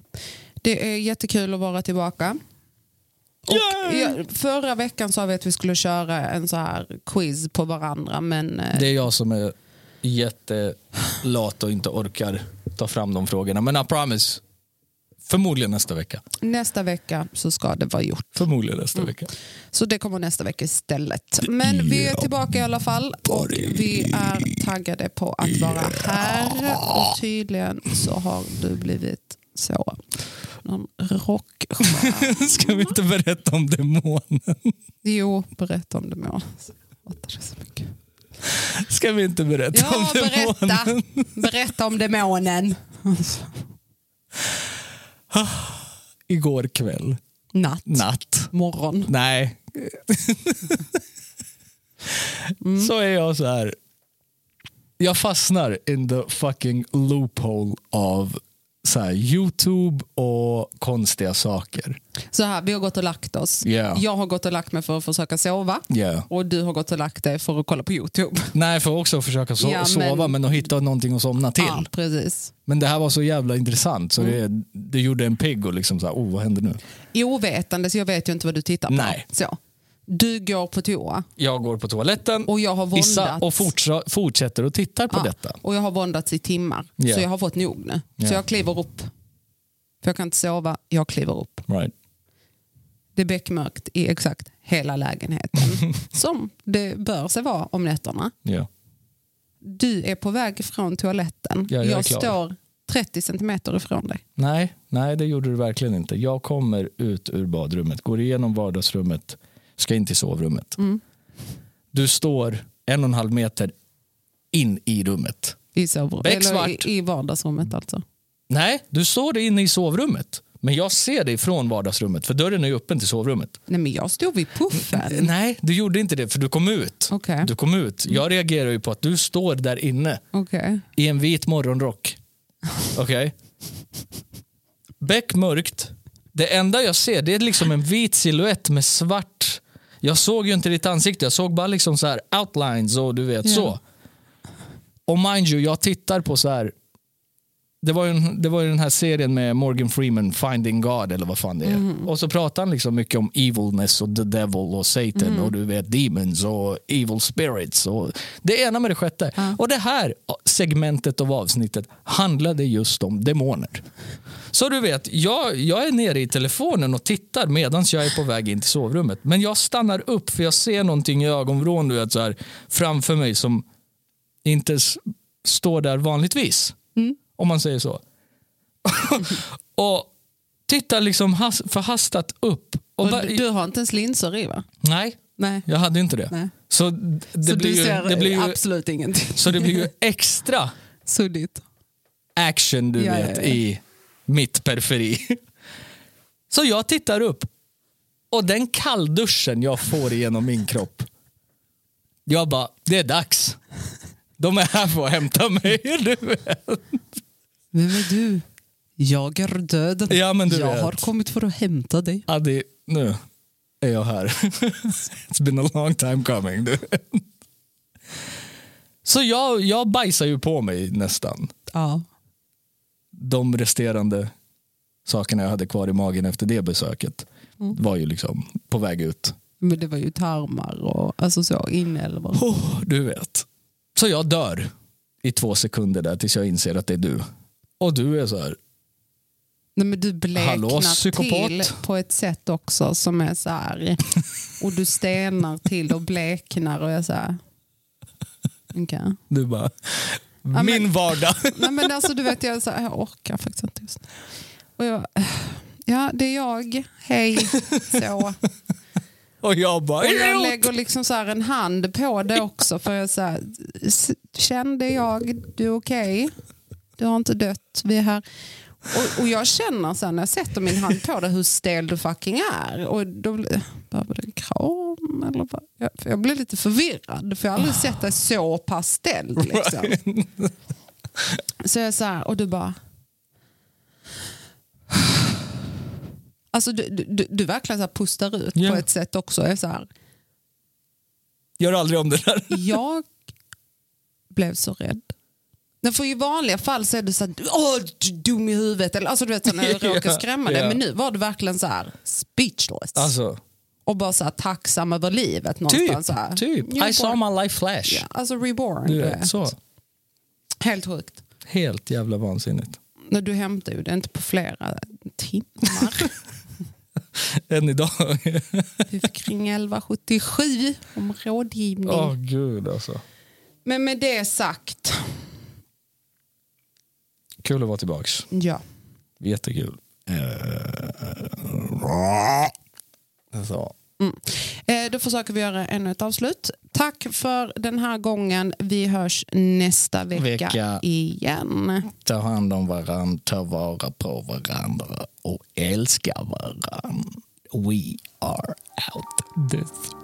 A: Det är jättekul att vara tillbaka.
B: Yay!
A: Ja, förra veckan sa vi att vi skulle köra en så här quiz på varandra men eh,
B: Det är jag som är jättelat och inte orkar ta fram de frågorna. Men I promise. Förmodligen nästa vecka.
A: nästa vecka så ska det vara gjort.
B: Förmodligen nästa vecka.
A: Så det kommer nästa vecka istället. Men vi är tillbaka i alla fall och vi är taggade på att vara här. Och tydligen så har du blivit så någon rockstjärna.
B: Ska vi inte berätta om demonen?
A: Jo, berätta om det Moa. Jag hatar det så mycket.
B: Ska vi inte berätta om
A: Ja,
B: demonen?
A: berätta. Berätta om demonen.
B: Igår kväll.
A: Natt.
B: Natt.
A: Morgon.
B: Nej.
A: Mm.
B: Så är jag så här. Jag fastnar in the fucking loophole av så här, Youtube och konstiga saker.
A: Så här, vi har gått och lagt oss.
B: Ja.
A: Jag har gått och lagt mig för att försöka sova.
B: Ja.
A: Och du har gått och lagt dig för att kolla på YouTube.
B: Nej, för också att försöka so-
A: Ja, men-
B: sova men att hitta någonting att somna till.
A: Ja, Mm. precis.
B: Men det här var så jävla intressant så det, det gjorde en pigg och liksom så här, oh vad händer nu?
A: ovetandes, jag vet ju inte vad du tittar på.
B: Nej.
A: Så. Du går på toa
B: Jag går på toaletten,
A: och jag har
B: kissar
A: våndats.
B: och fortsa- fortsätter och tittar på
A: Ja,
B: detta.
A: Och jag har våndats i timmar.
B: Ja.
A: Så jag har fått nog nu.
B: Ja.
A: Så jag kliver upp. För jag kan inte sova, jag kliver upp.
B: Right.
A: Det är beckmörkt i exakt hela
B: [LAUGHS]
A: lägenheten. som det bör sig vara om nätterna.
B: Ja.
A: Du är på väg från toaletten.
B: Ja, jag är klar.
A: står 30 centimeter ifrån dig.
B: Nej, nej, det gjorde du verkligen inte. Jag kommer ut ur badrummet, går igenom vardagsrummet, ska in till sovrummet.
A: Mm.
B: Du står en och en halv meter in i rummet.
A: I, sovrum- eller
B: Becksvart.
A: i, i vardagsrummet alltså.
B: Nej, du står inne i sovrummet. Men jag ser dig från vardagsrummet, för dörren är ju öppen till sovrummet.
A: Nej men jag stod vid puffen.
B: Mm, Nej, du gjorde inte det, för du kom ut.
A: Okej. Mm.
B: Du kom ut. Jag reagerar ju på att du står där inne
A: Okej.
B: i en
A: [LAUGHS]
B: vit morgonrock. Okej? Beckmörkt. Det enda jag ser det är liksom en vit siluett med svart... Jag såg ju inte ditt ansikte, jag såg bara liksom så här outlines och du vet
A: Ja.
B: så. Och mind you, jag tittar på så här... Det var, ju en, det var ju den här serien med Morgan Freeman, Finding God eller vad fan det är. Och så pratar han liksom mycket om evilness och the devil och Satan och du vet demons och evil spirits. Och det ena med det sjätte. Och det här segmentet av avsnittet handlade just om demoner. Så du vet, jag, jag är nere i telefonen och tittar medan jag är på väg in till sovrummet. Men jag stannar upp för jag ser någonting i ögonvrån du vet, så här, framför mig som inte s- står där vanligtvis.
A: Mm.
B: Om man säger så. [LAUGHS] och tittar liksom has, förhastat upp. Och
A: Och
B: bara,
A: du, du har inte ens linser i va?
B: nej,
A: Nej.
B: jag hade inte det.
A: Nej.
B: Så, d- det,
A: så
B: blir
A: du
B: ju,
A: ser
B: det blir ju,
A: absolut ingenting. [LAUGHS]
B: så det blir ju extra
A: Suddigt.
B: action du
A: Ja,
B: vet
A: ja, ja.
B: i mitt periferi. Så jag tittar upp och den kallduschen jag får genom min kropp. Jag bara, det är dags. De är här för att hämta mig. Du vet.
A: Vem är du? Jag är död.
B: Ja, men du
A: jag
B: vet.
A: har kommit för att hämta dig.
B: Ja, det, nu är jag här. It's been a long time coming. Du. Så jag, jag bajsar ju på mig nästan.
A: Ja.
B: De resterande sakerna jag hade kvar i magen efter det besöket
A: Mm.
B: var ju liksom på väg ut.
A: Men det var ju tarmar och alltså så, inälvor.
B: Oh, du vet. Så jag dör i två sekunder där tills jag inser att det är du. Och du är så här,
A: Nej, men du bleknar
B: Hallå, psykopat.
A: till på ett sätt också som är så
B: [LAUGHS]
A: här. Och du stenar till och bleknar och jag så här. Okej.
B: du bara,
A: men-
B: min vardag. [LAUGHS]
A: Nej men alltså du vet jag, är så här, jag orkar faktiskt inte just nu. Och jag, ja det är jag, hej, så.
B: Och jag bara,
A: Och jag
B: "Idiot!"
A: lägger liksom så här en hand på det också för jag så här, "S- känn det är jag, du är okej. Du har inte dött, vi är här. Och, och jag känner sen när jag sätter min hand på det hur stel du fucking är. Och då blir- behöver du en kram? Eller vad? Jag, för jag blir lite förvirrad för jag har
B: Ah.
A: aldrig sett dig så pass
B: [LAUGHS]
A: ställd. Liksom. Så jag är så här, och du bara... Alltså du, du, du, du verkligen så här pustar ut
B: Ja.
A: på ett sätt också. Jag är så här,
B: gör aldrig om det där.
A: jag blev så rädd. Nej, för I vanliga fall så är det så här, åh du är dum i huvudet. Eller, alltså, du vet, så när jag
B: [LAUGHS] Ja,
A: råkar skrämma dig.
B: ja.
A: Men nu var det verkligen så här speechless.
B: Alltså,
A: Och bara så här, tacksam över livet någonstans.
B: typ,
A: så här.
B: typ. I saw my life flash.
A: Ja, Alltså reborn.
B: Du
A: du
B: vet, så.
A: Helt sjukt.
B: Helt jävla vansinnigt. [LAUGHS]
A: När du hämtar ju det inte på flera
B: [LAUGHS]
A: timmar.
B: Än idag.
A: Mm. Vi var kring 11.77 om rådgivning.
B: Åh gud alltså.
A: Men med det sagt,
B: Kul att vara tillbaks.
A: ja.
B: Jättekul. Eh, Så.
A: Eh, Då försöker vi göra ännu ett avslut. Tack för den här gången. Vi hörs nästa vecka,
B: Vecka.
A: igen.
B: Ta hand om varandra, ta vara på varandra och älska varandra. We are out this